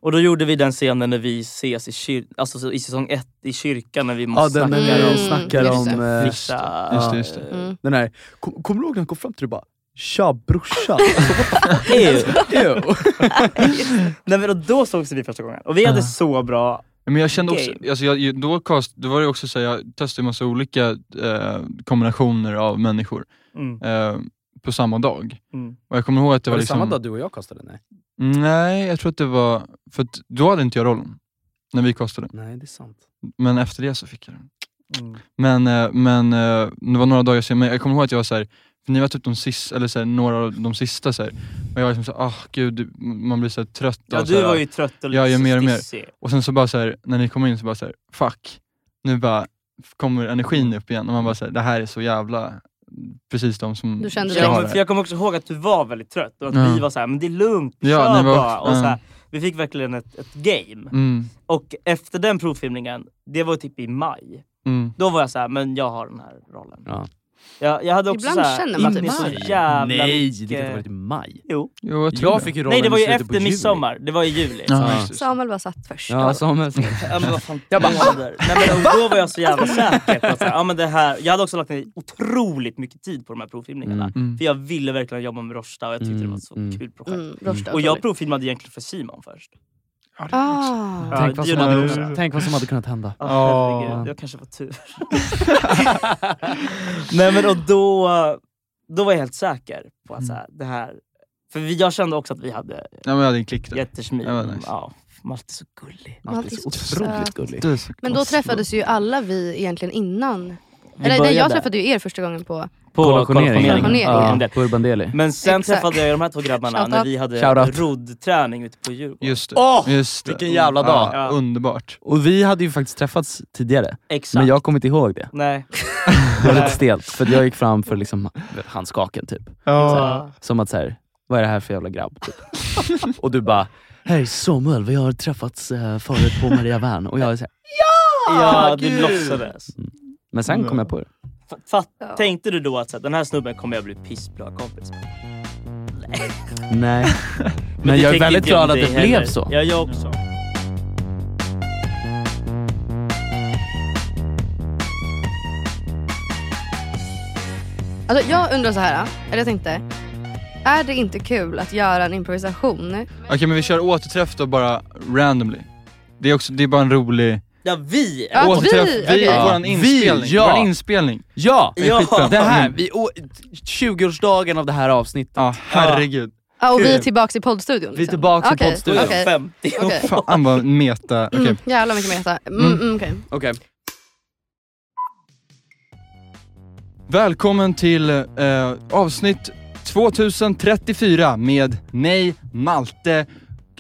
[SPEAKER 6] Och då gjorde vi den scenen när vi ses i, kyr- alltså, så i säsong ett i kyrkan när vi
[SPEAKER 14] Ja,
[SPEAKER 6] måste
[SPEAKER 14] den
[SPEAKER 6] snacka
[SPEAKER 14] där
[SPEAKER 6] om... eh,
[SPEAKER 14] de snackar om... eh,
[SPEAKER 6] Just det,
[SPEAKER 14] ja,
[SPEAKER 6] just det, just det.
[SPEAKER 5] Mm.
[SPEAKER 14] Den här, kom, kommer du ihåg när han kom fram till dig och bara Tja brorsan,
[SPEAKER 6] Nej, men och då sågs vi första gången. Och vi hade så bra...
[SPEAKER 4] Men jag kände också,
[SPEAKER 6] Game.
[SPEAKER 4] alltså jag, ju- då, cast, då var det också så här, jag testade en massa olika eh, kombinationer av människor
[SPEAKER 6] Mm.
[SPEAKER 4] eh, på samma dag.
[SPEAKER 6] Mm.
[SPEAKER 4] Och jag kommer ihåg att det var,
[SPEAKER 12] Var det
[SPEAKER 4] liksom...
[SPEAKER 12] samma dag du och jag kastade? Nej.
[SPEAKER 4] Nej, jag tror att det var... För att då hade inte jag rollen, när vi kastade.
[SPEAKER 12] Nej, det är sant.
[SPEAKER 4] Men efter det så fick jag den.
[SPEAKER 13] Mm.
[SPEAKER 4] Men, eh, men eh, det var några dagar senare, men jag kommer ihåg att jag var såhär, för ni var typ de sista, eller så här, några av de sista så här, och jag var liksom såhär, ah gud, man blir så här trött.
[SPEAKER 6] Ja,
[SPEAKER 4] och
[SPEAKER 6] du
[SPEAKER 4] så här,
[SPEAKER 6] var ju trött och lite
[SPEAKER 4] jag gör mer och mer.
[SPEAKER 6] stissig.
[SPEAKER 4] Och sen så bara så här, när ni kom in så bara så här, fuck, nu bara kommer energin upp igen och man bara såhär, det här är så jävla, precis de som
[SPEAKER 5] Du kände
[SPEAKER 4] ska
[SPEAKER 6] Ja,
[SPEAKER 4] ha
[SPEAKER 6] men
[SPEAKER 4] det.
[SPEAKER 6] för jag kommer också ihåg att du var väldigt trött och att
[SPEAKER 4] Ja.
[SPEAKER 6] vi var så här, men det är lugnt,
[SPEAKER 4] Ja,
[SPEAKER 6] kör
[SPEAKER 4] ni var-
[SPEAKER 6] bara. Och så här,
[SPEAKER 4] ja.
[SPEAKER 6] vi fick verkligen ett, ett game.
[SPEAKER 4] Mm,
[SPEAKER 6] Och efter den provfilmningen, det var typ i maj,
[SPEAKER 4] mm.
[SPEAKER 6] då var jag så här, men jag har den här rollen.
[SPEAKER 13] Ja.
[SPEAKER 6] Jag, jag hade också
[SPEAKER 5] Ibland
[SPEAKER 6] så här,
[SPEAKER 5] känner man
[SPEAKER 6] in
[SPEAKER 5] typ
[SPEAKER 6] i så
[SPEAKER 5] maj.
[SPEAKER 6] jävla
[SPEAKER 13] Nej, det
[SPEAKER 6] mycket-
[SPEAKER 13] kan inte ha varit i maj.
[SPEAKER 6] Jo.
[SPEAKER 4] Jo, jag, tror
[SPEAKER 13] Jag fick ju rollen
[SPEAKER 6] Nej, det var ju
[SPEAKER 13] i slutet på
[SPEAKER 6] efter
[SPEAKER 13] juli.
[SPEAKER 6] midsommar. Det var i juli.
[SPEAKER 13] Ja.
[SPEAKER 5] Samuel bara satt alltså, först.
[SPEAKER 13] Ja,
[SPEAKER 6] Alltså,
[SPEAKER 13] Samuel.
[SPEAKER 6] Ja, men vad fan jag bara, Nej, men och Då var jag så jävla säker på att så här, ja, men det här, jag hade också lagt ner otroligt mycket tid på de här provfilmningarna.
[SPEAKER 4] Mm.
[SPEAKER 6] För jag ville verkligen jobba med Rosta och jag tyckte det var ett så kul projekt.
[SPEAKER 5] Mm, Rosta
[SPEAKER 6] och jag
[SPEAKER 5] otroligt.
[SPEAKER 6] provfilmade egentligen för Simon först.
[SPEAKER 5] Ah.
[SPEAKER 6] Ja,
[SPEAKER 13] Tänk vad,
[SPEAKER 6] det
[SPEAKER 13] som
[SPEAKER 6] gjorde han
[SPEAKER 13] hade,
[SPEAKER 6] också.
[SPEAKER 13] tänk vad som hade kunnat hända.
[SPEAKER 6] Ja, Ah, herregud, jag kanske var tur. Nej men och då, då var jag helt säker på att så här, det här... För vi- jag kände också att vi hade
[SPEAKER 4] Nej, men jag hade en klick där.
[SPEAKER 6] jättesmid.
[SPEAKER 4] Det var nice.
[SPEAKER 6] Ja, Malte är så gullig.
[SPEAKER 5] Malte är så otroligt
[SPEAKER 13] gullig.
[SPEAKER 4] Du är så
[SPEAKER 5] Men då träffades ju alla vi egentligen innan. Eller nej,
[SPEAKER 6] började.
[SPEAKER 5] jag träffade ju er första gåningen på...
[SPEAKER 6] På
[SPEAKER 13] Kollationeringen.
[SPEAKER 5] Kollationeringen.
[SPEAKER 13] Ja, på Urban Deli.
[SPEAKER 6] Men sen
[SPEAKER 5] Exakt.
[SPEAKER 6] träffade jag de här två grabbarna
[SPEAKER 5] Shoutout.
[SPEAKER 6] när vi hade
[SPEAKER 13] Shoutout.
[SPEAKER 6] roddträning ute på Djurgården.
[SPEAKER 4] Just det.
[SPEAKER 13] Åh,
[SPEAKER 4] Just det.
[SPEAKER 13] vilken jävla dag.
[SPEAKER 4] Ja, underbart.
[SPEAKER 13] Och vi hade ju faktiskt träffats tidigare,
[SPEAKER 6] Exakt.
[SPEAKER 13] men jag kommer inte ihåg det.
[SPEAKER 6] Nej.
[SPEAKER 13] Det var lite
[SPEAKER 6] Nej.
[SPEAKER 13] stelt, för jag gick fram för liksom handskaken typ.
[SPEAKER 6] Ja.
[SPEAKER 13] Som att så här, vad är det här för jävla grabb? Typ. och du bara, hej Samuel, vi har träffats eh, förut på Maria Wern. Och jag är så här,
[SPEAKER 6] Ja, det
[SPEAKER 13] gud.
[SPEAKER 6] blossades.
[SPEAKER 13] Mm. men sen kom jag på det.
[SPEAKER 6] F- Fatt, Tänkte du då att så här, den här snubben kommer jag bli pissbra kompis med?
[SPEAKER 13] Nej. Men,
[SPEAKER 6] det
[SPEAKER 13] jag är
[SPEAKER 6] tänkte
[SPEAKER 13] väldigt
[SPEAKER 6] inte jag
[SPEAKER 13] glad att
[SPEAKER 6] om
[SPEAKER 13] det
[SPEAKER 6] dig heller.
[SPEAKER 13] blev så.
[SPEAKER 6] Ja, jag också.
[SPEAKER 5] Alltså jag undrar så här, eller jag tänkte. Är det inte kul att göra en improvisation?
[SPEAKER 4] Okej men vi kör återträff då bara randomly. Det är, också, det är bara en rolig
[SPEAKER 6] Ja, vi!
[SPEAKER 5] Ja, vi,
[SPEAKER 4] återträff.
[SPEAKER 5] okej.
[SPEAKER 4] är våran
[SPEAKER 13] Vi,
[SPEAKER 4] inspelning.
[SPEAKER 13] ja.
[SPEAKER 4] Våran inspelning.
[SPEAKER 13] Ja!
[SPEAKER 4] Det är skitbra. Mm.
[SPEAKER 13] Det Mm. här, vi, å- 20-årsdagen av det här avsnittet.
[SPEAKER 4] Ja, herregud.
[SPEAKER 5] Ja, och vi är
[SPEAKER 4] Kul.
[SPEAKER 5] tillbaka i poddstudion. liksom.
[SPEAKER 13] Vi är tillbaka i poddstudion.
[SPEAKER 5] Okej.
[SPEAKER 6] 50
[SPEAKER 5] Okej.
[SPEAKER 4] Fan vad meta. Okej.
[SPEAKER 5] Mm, jävlar mycket meta. Mm,
[SPEAKER 4] Mm.
[SPEAKER 5] mm, okej.
[SPEAKER 13] Okej.
[SPEAKER 4] Välkommen till eh, avsnitt 2034 med mig, Malte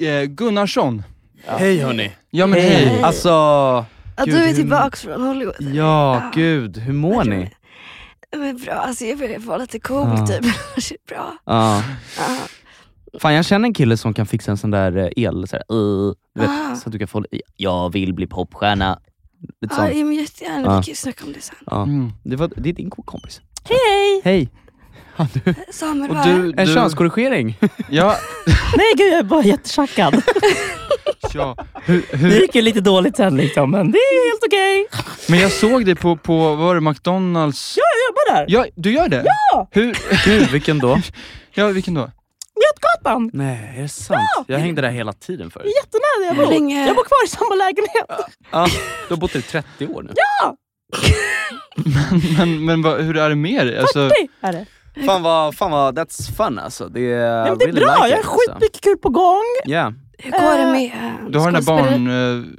[SPEAKER 4] eh, Gunnarsson.
[SPEAKER 13] Hej hörni.
[SPEAKER 4] Ja men hej.
[SPEAKER 13] Alltså,
[SPEAKER 5] Ja,
[SPEAKER 13] Gud,
[SPEAKER 5] du är
[SPEAKER 13] hur-
[SPEAKER 5] tillbaka från Hollywood.
[SPEAKER 13] ja gud, hur mår ni?
[SPEAKER 5] men bra, alltså jag vill vara lite cool
[SPEAKER 6] Ja.
[SPEAKER 5] typ. bra.
[SPEAKER 6] Ja.
[SPEAKER 5] Ja.
[SPEAKER 6] Fan jag känner en kille som kan fixa en sån där eh, el, så, här, eh, du vet,
[SPEAKER 5] Ah.
[SPEAKER 6] så att du kan få, jag vill bli popstjärna. Lite
[SPEAKER 5] Ja,
[SPEAKER 6] sånt.
[SPEAKER 5] ja, men jättegärna,
[SPEAKER 6] Ja.
[SPEAKER 5] vi kan ju snacka om det sen.
[SPEAKER 6] Ja. Det, var, det är din kompis.
[SPEAKER 5] Hej!
[SPEAKER 6] Hej!
[SPEAKER 5] Samuel
[SPEAKER 6] Och
[SPEAKER 5] var
[SPEAKER 6] du-
[SPEAKER 5] här.
[SPEAKER 6] En
[SPEAKER 15] könskorrigering?
[SPEAKER 4] Ja.
[SPEAKER 2] Nej gud, jag är bara jättechackad.
[SPEAKER 4] ja. Hur,
[SPEAKER 2] Det
[SPEAKER 4] hur,
[SPEAKER 2] gick ju lite dåligt sen liksom, men det är helt okej.
[SPEAKER 4] men jag såg dig på, på vad var det, McDonalds?
[SPEAKER 2] Ja, jag jobbar där.
[SPEAKER 4] Ja, du gör det?
[SPEAKER 2] Ja!
[SPEAKER 4] Hur?
[SPEAKER 6] Gud, vilken då?
[SPEAKER 4] Ja, vilken då?
[SPEAKER 2] Götgatan!
[SPEAKER 6] Nej, är det sant? Jag hängde där hela tiden förut.
[SPEAKER 2] Jättenära jag bor.
[SPEAKER 5] Hur länge-
[SPEAKER 2] Jag bor kvar i samma lägenhet.
[SPEAKER 6] Ja. Du har bott där i 30 år nu.
[SPEAKER 2] Ja!
[SPEAKER 4] Men, men vad, hur är det med dig? Alltså,
[SPEAKER 2] Okej, är det.
[SPEAKER 6] Fan vad, fan vad, that's fun alltså. Det är,
[SPEAKER 2] Nej, men det är
[SPEAKER 6] really
[SPEAKER 2] bra, jag
[SPEAKER 6] like
[SPEAKER 2] har
[SPEAKER 6] it, alltså.
[SPEAKER 2] skitmycket kul på gång.
[SPEAKER 6] Ja.
[SPEAKER 5] Hur går det med eh,
[SPEAKER 4] du har den där
[SPEAKER 5] skådespeleriet?
[SPEAKER 4] barn... eh,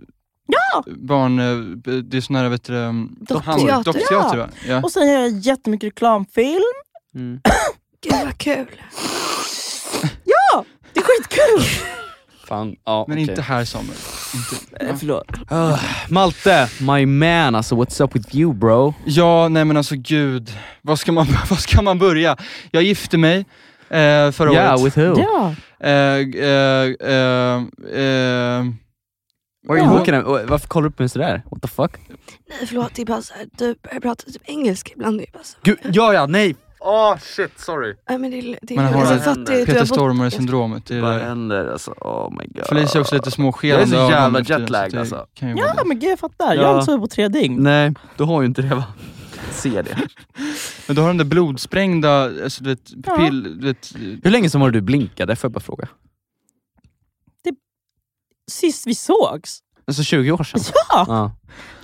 [SPEAKER 4] Barn... eh, det är sån här, vet du det, um,
[SPEAKER 5] Dockteater.
[SPEAKER 4] hand- Dockteater, va? Ja.
[SPEAKER 2] Och sen gör jag jättemycket reklamfilm.
[SPEAKER 5] Gud vad kul.
[SPEAKER 2] Ja, det är skitkul.
[SPEAKER 6] Fan, ja,
[SPEAKER 4] Men
[SPEAKER 6] okej.
[SPEAKER 4] inte här Samuel. Inte, ja.
[SPEAKER 2] Förlåt.
[SPEAKER 6] Ah, Malte, my man alltså, what's up with you bro?
[SPEAKER 4] Ja, nej men alltså gud. Var ska man, var ska man börja? Jag gifte mig eh, förra
[SPEAKER 6] Yeah,
[SPEAKER 4] året.
[SPEAKER 6] with who?
[SPEAKER 2] Ja.
[SPEAKER 4] Eh, eh, eh, eh,
[SPEAKER 6] Where are you
[SPEAKER 4] ja.
[SPEAKER 6] looking at? Varför kollar du på mig sådär? What the fuck?
[SPEAKER 5] Nej förlåt, det är bara såhär, du börjar prata typ engelska ibland. Det är bara så,
[SPEAKER 6] Gud, ja ja, nej! Åh shit, sorry.
[SPEAKER 5] nej, men det, är- det, är-
[SPEAKER 4] Man har
[SPEAKER 5] alltså,
[SPEAKER 4] det-
[SPEAKER 5] fattar jag att du
[SPEAKER 4] Peter
[SPEAKER 5] har bott-
[SPEAKER 4] Stormare-syndromet. Det är
[SPEAKER 6] Vad
[SPEAKER 4] det.
[SPEAKER 6] händer alltså? Oh my god.
[SPEAKER 4] Felicia är också lite
[SPEAKER 6] Jag är
[SPEAKER 4] småskelande.
[SPEAKER 6] så
[SPEAKER 4] av honom
[SPEAKER 6] jävla
[SPEAKER 4] nu för tiden, så
[SPEAKER 6] jetlagd
[SPEAKER 4] det
[SPEAKER 6] alltså.
[SPEAKER 4] kan ju vara
[SPEAKER 2] Ja
[SPEAKER 4] det.
[SPEAKER 2] men gud jag fattar, jag
[SPEAKER 6] Ja.
[SPEAKER 2] har inte sovit på tre dygn.
[SPEAKER 6] Nej, du har ju inte det va? Ser det.
[SPEAKER 4] Men du har den där blodsprängda, alltså, du vet,
[SPEAKER 2] Ja.
[SPEAKER 4] pill, du vet,
[SPEAKER 6] Hur länge sedan var det du blinkade? Får jag bara fråga?
[SPEAKER 2] Sist vi sågs.
[SPEAKER 6] Alltså 20 år sedan?
[SPEAKER 2] Ja!
[SPEAKER 6] Ja.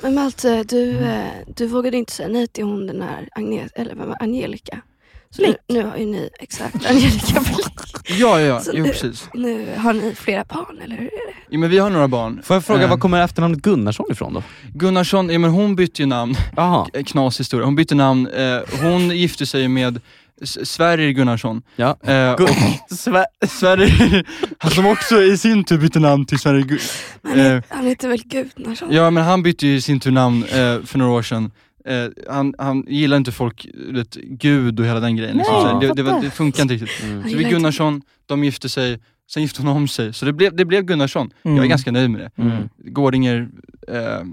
[SPEAKER 5] Men Malte, du, eh, du vågade inte säga nej till hon den här Agnes, eller vem var Angelica. Så nu, nu har ju ni, exakt, Angelica Blick.
[SPEAKER 4] ja, ja, ja,
[SPEAKER 5] Så
[SPEAKER 4] jo,
[SPEAKER 5] nu-
[SPEAKER 4] precis.
[SPEAKER 5] Nu har ni flera barn, eller hur är det?
[SPEAKER 4] Ja, men vi har några barn.
[SPEAKER 6] Får jag fråga,
[SPEAKER 4] Eh,
[SPEAKER 6] var kommer efternamnet Gunnarsson ifrån då?
[SPEAKER 4] Gunnarsson, ja, men hon bytte ju namn.
[SPEAKER 6] Jaha.
[SPEAKER 4] Eh, Knas historia. Hon bytte namn, eh, hon gifte sig med S- Sverrir Gunnarsson.
[SPEAKER 6] Ja.
[SPEAKER 4] Eh, och Sverrir, han som också i sin tur bytte namn till Sverrir Gu- eh,
[SPEAKER 5] Han heter väl Gudnarsson?
[SPEAKER 4] Ja men han bytte ju i sin tur namn eh, för några år sedan. Eh, han, han gillar inte folk, du vet, gud och hela den grejen. Liksom.
[SPEAKER 2] Nej,
[SPEAKER 4] Så här, det, det, var-
[SPEAKER 2] fattar.
[SPEAKER 4] det funkar inte riktigt.
[SPEAKER 6] Mm.
[SPEAKER 4] Så vi Gunnarsson, de gifte sig, sen gifte hon om sig. Så det blev, det blev Gunnarsson. Jag är
[SPEAKER 2] Mm.
[SPEAKER 4] ganska nöjd med det.
[SPEAKER 6] Mm.
[SPEAKER 4] Gårdinger, eh,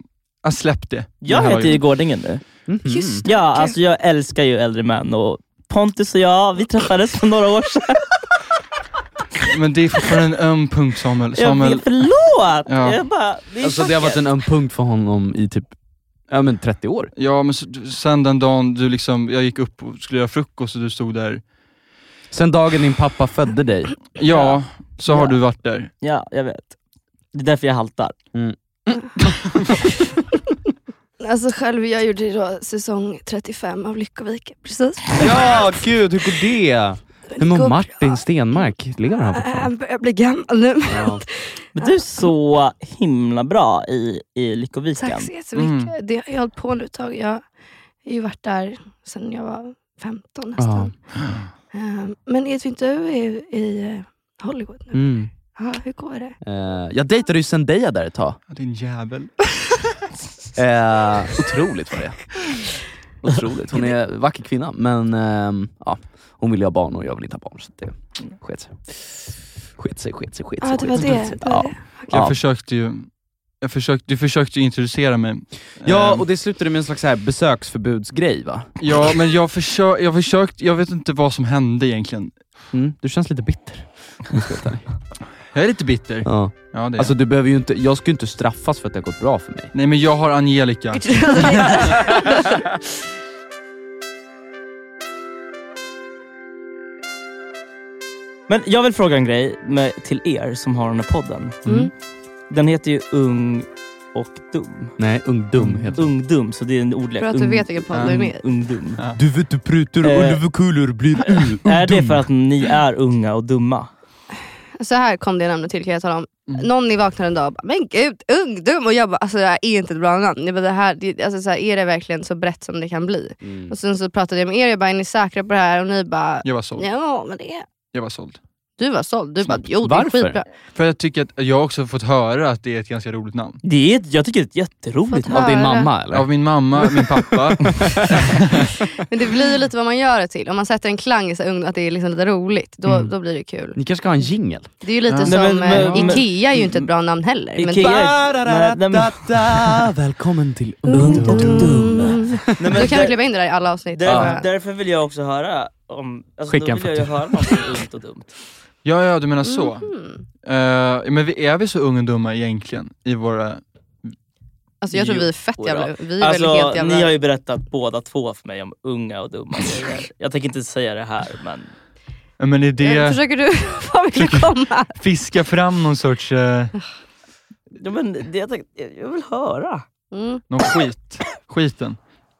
[SPEAKER 4] han släppte det.
[SPEAKER 2] Jag
[SPEAKER 4] Det här var
[SPEAKER 2] heter
[SPEAKER 4] ju-
[SPEAKER 2] ju Gårdingen nu.
[SPEAKER 6] Mm.
[SPEAKER 5] Just det,
[SPEAKER 2] Ja,
[SPEAKER 5] okej.
[SPEAKER 2] alltså jag älskar ju äldre män och Pontus och jag, vi träffades för några år sedan.
[SPEAKER 4] Men det är fortfarande en öm punkt Samuel.
[SPEAKER 2] Jag
[SPEAKER 4] Samuel
[SPEAKER 2] vet, förlåt!
[SPEAKER 4] Ja.
[SPEAKER 2] Jag bara, det är
[SPEAKER 6] Alltså det har varit
[SPEAKER 2] vackert.
[SPEAKER 6] en öm punkt för honom i typ, ja men 30 år.
[SPEAKER 4] ja men så- sen den dagen du liksom, jag gick upp och skulle göra frukost och du stod där.
[SPEAKER 6] Sen dagen din pappa födde dig.
[SPEAKER 4] Ja, så har
[SPEAKER 2] Ja.
[SPEAKER 4] du varit där.
[SPEAKER 2] Ja, jag vet. Det är därför jag haltar.
[SPEAKER 5] Alltså själv, jag gjorde ju då säsong 35 av Lyckovika, precis.
[SPEAKER 6] Ja, gud hur går det?
[SPEAKER 5] Det
[SPEAKER 6] Men
[SPEAKER 5] går bra.
[SPEAKER 6] Martin Stenmark, lever han
[SPEAKER 5] Äh,
[SPEAKER 6] fortfarande?
[SPEAKER 5] Han börjar bli gammal nu.
[SPEAKER 6] Ja.
[SPEAKER 2] Men du är så himla bra i, i Lyckoviken.
[SPEAKER 5] Tack så jättemycket.
[SPEAKER 2] Mm.
[SPEAKER 5] Det har jag hållit på nu ett tag. Jag har ju varit där sedan jag var 15 nästan. Ehm, Men Edvin, du är ju i eh, Hollywood nu.
[SPEAKER 6] Mm.
[SPEAKER 5] Ja, hur går det?
[SPEAKER 6] Eh, jag dejtade ju Zendaya där ett tag.
[SPEAKER 4] Ja, Din jävel.
[SPEAKER 6] Eh, otroligt var det Otroligt. Hon är en vacker kvinna, men ehm, ja, hon vill ju ha barn och jag vill inte ha barn. Så det sket sig. Sket sig, sket sig, sket sig.
[SPEAKER 5] Ja, det var
[SPEAKER 6] sket sig.
[SPEAKER 5] det. det, var
[SPEAKER 6] Ja.
[SPEAKER 5] det.
[SPEAKER 4] Jag
[SPEAKER 6] Ja.
[SPEAKER 4] försökte ju, jag försökte, du försökte ju introducera mig.
[SPEAKER 6] ja,
[SPEAKER 4] Ehm,
[SPEAKER 6] och det slutade med en slags så här besöksförbudsgrej va?
[SPEAKER 4] ja men jag, försö, jag försökte, jag vet inte vad som hände egentligen.
[SPEAKER 6] Mm, du känns lite bitter. om jag ska vara ärlig.
[SPEAKER 4] Jag är lite bitter. Ja, det
[SPEAKER 6] Ja.
[SPEAKER 4] är jag.
[SPEAKER 6] Alltså, du behöver ju inte, jag ska ju inte straffas för att det har gått bra för mig.
[SPEAKER 4] Nej men jag har Angelica.
[SPEAKER 2] Men jag vill fråga en grej med, till er som har den här podden.
[SPEAKER 5] Mm.
[SPEAKER 2] Den heter ju Ung och dum.
[SPEAKER 6] Nej, ungdom heter det.
[SPEAKER 2] Ung dum, så det är en ordlek.
[SPEAKER 16] Bra att du
[SPEAKER 2] Ung-
[SPEAKER 16] vet vilken podd du är med i.
[SPEAKER 2] Ung dum.
[SPEAKER 6] Du vet du prutor
[SPEAKER 2] Eh.
[SPEAKER 6] ulvekulor blir u.
[SPEAKER 2] Är det för att ni är unga och dumma?
[SPEAKER 16] Så här kom det namnet till kan jag tala om.
[SPEAKER 13] Mm.
[SPEAKER 16] Någon vaknade en dag och bara, men gud ungdom! Och jag bara, alltså det här är inte ett bra namn. Jag bara, det här, det, alltså, så här, är det verkligen så brett som det kan bli?
[SPEAKER 13] Mm.
[SPEAKER 16] Och sen så pratade jag med er och jag bara, är ni säkra på det här? Och ni bara,
[SPEAKER 4] Jag var såld.
[SPEAKER 16] ja men det är...
[SPEAKER 4] Jag var såld.
[SPEAKER 5] Du var såld. Du bara, jo det är
[SPEAKER 4] Varför?
[SPEAKER 5] skitbra.
[SPEAKER 4] För jag tycker att jag har också fått höra att det är ett ganska roligt namn.
[SPEAKER 6] Det är, jag tycker det är ett jätteroligt
[SPEAKER 5] Fått namn. höra.
[SPEAKER 4] Av min mamma, min pappa.
[SPEAKER 5] Men det blir ju lite vad man gör det till. Om man sätter en klang i så här ung- att det är liksom lite roligt, då,
[SPEAKER 13] Mm.
[SPEAKER 5] då blir det kul.
[SPEAKER 13] Ni kanske ska ha en jingel?
[SPEAKER 5] Det är ju lite
[SPEAKER 13] Ja.
[SPEAKER 5] som,
[SPEAKER 13] Nej, men-
[SPEAKER 5] eh,
[SPEAKER 13] men-
[SPEAKER 5] Ikea är ju inte ett bra namn heller. men-
[SPEAKER 13] Ikea är- nej, nej,
[SPEAKER 12] men- Välkommen till Ung och Dum.
[SPEAKER 6] Nej,
[SPEAKER 5] du kan
[SPEAKER 6] men där-
[SPEAKER 5] vi klippa in det där i alla avsnitt.
[SPEAKER 6] Där,
[SPEAKER 5] Ja.
[SPEAKER 6] Därför vill jag också höra om... Alltså,
[SPEAKER 4] Skicka
[SPEAKER 6] då
[SPEAKER 4] en
[SPEAKER 6] vill jag ju
[SPEAKER 4] faktura.
[SPEAKER 6] höra om något dumt och dumt.
[SPEAKER 4] ja, ja, du menar så.
[SPEAKER 5] Mhm.
[SPEAKER 4] Eh, men vi, är vi så unga och dumma egentligen i våra...
[SPEAKER 5] Alltså jag tror vi är fett
[SPEAKER 6] Jodå.
[SPEAKER 5] jävla... Vi är
[SPEAKER 6] alltså,
[SPEAKER 5] väl helt jävla...
[SPEAKER 6] Ni har ju berättat båda två för mig om unga och dumma grejer. Jag tänker inte säga det här men...
[SPEAKER 4] Ja, Men är det...
[SPEAKER 5] Eh, Försöker du... Vad vill du komma?
[SPEAKER 4] Fiska fram någon sorts... eh,
[SPEAKER 6] Ja, men det, jag, tänkte- jag vill höra.
[SPEAKER 5] Mm.
[SPEAKER 4] någon skit. Skiten.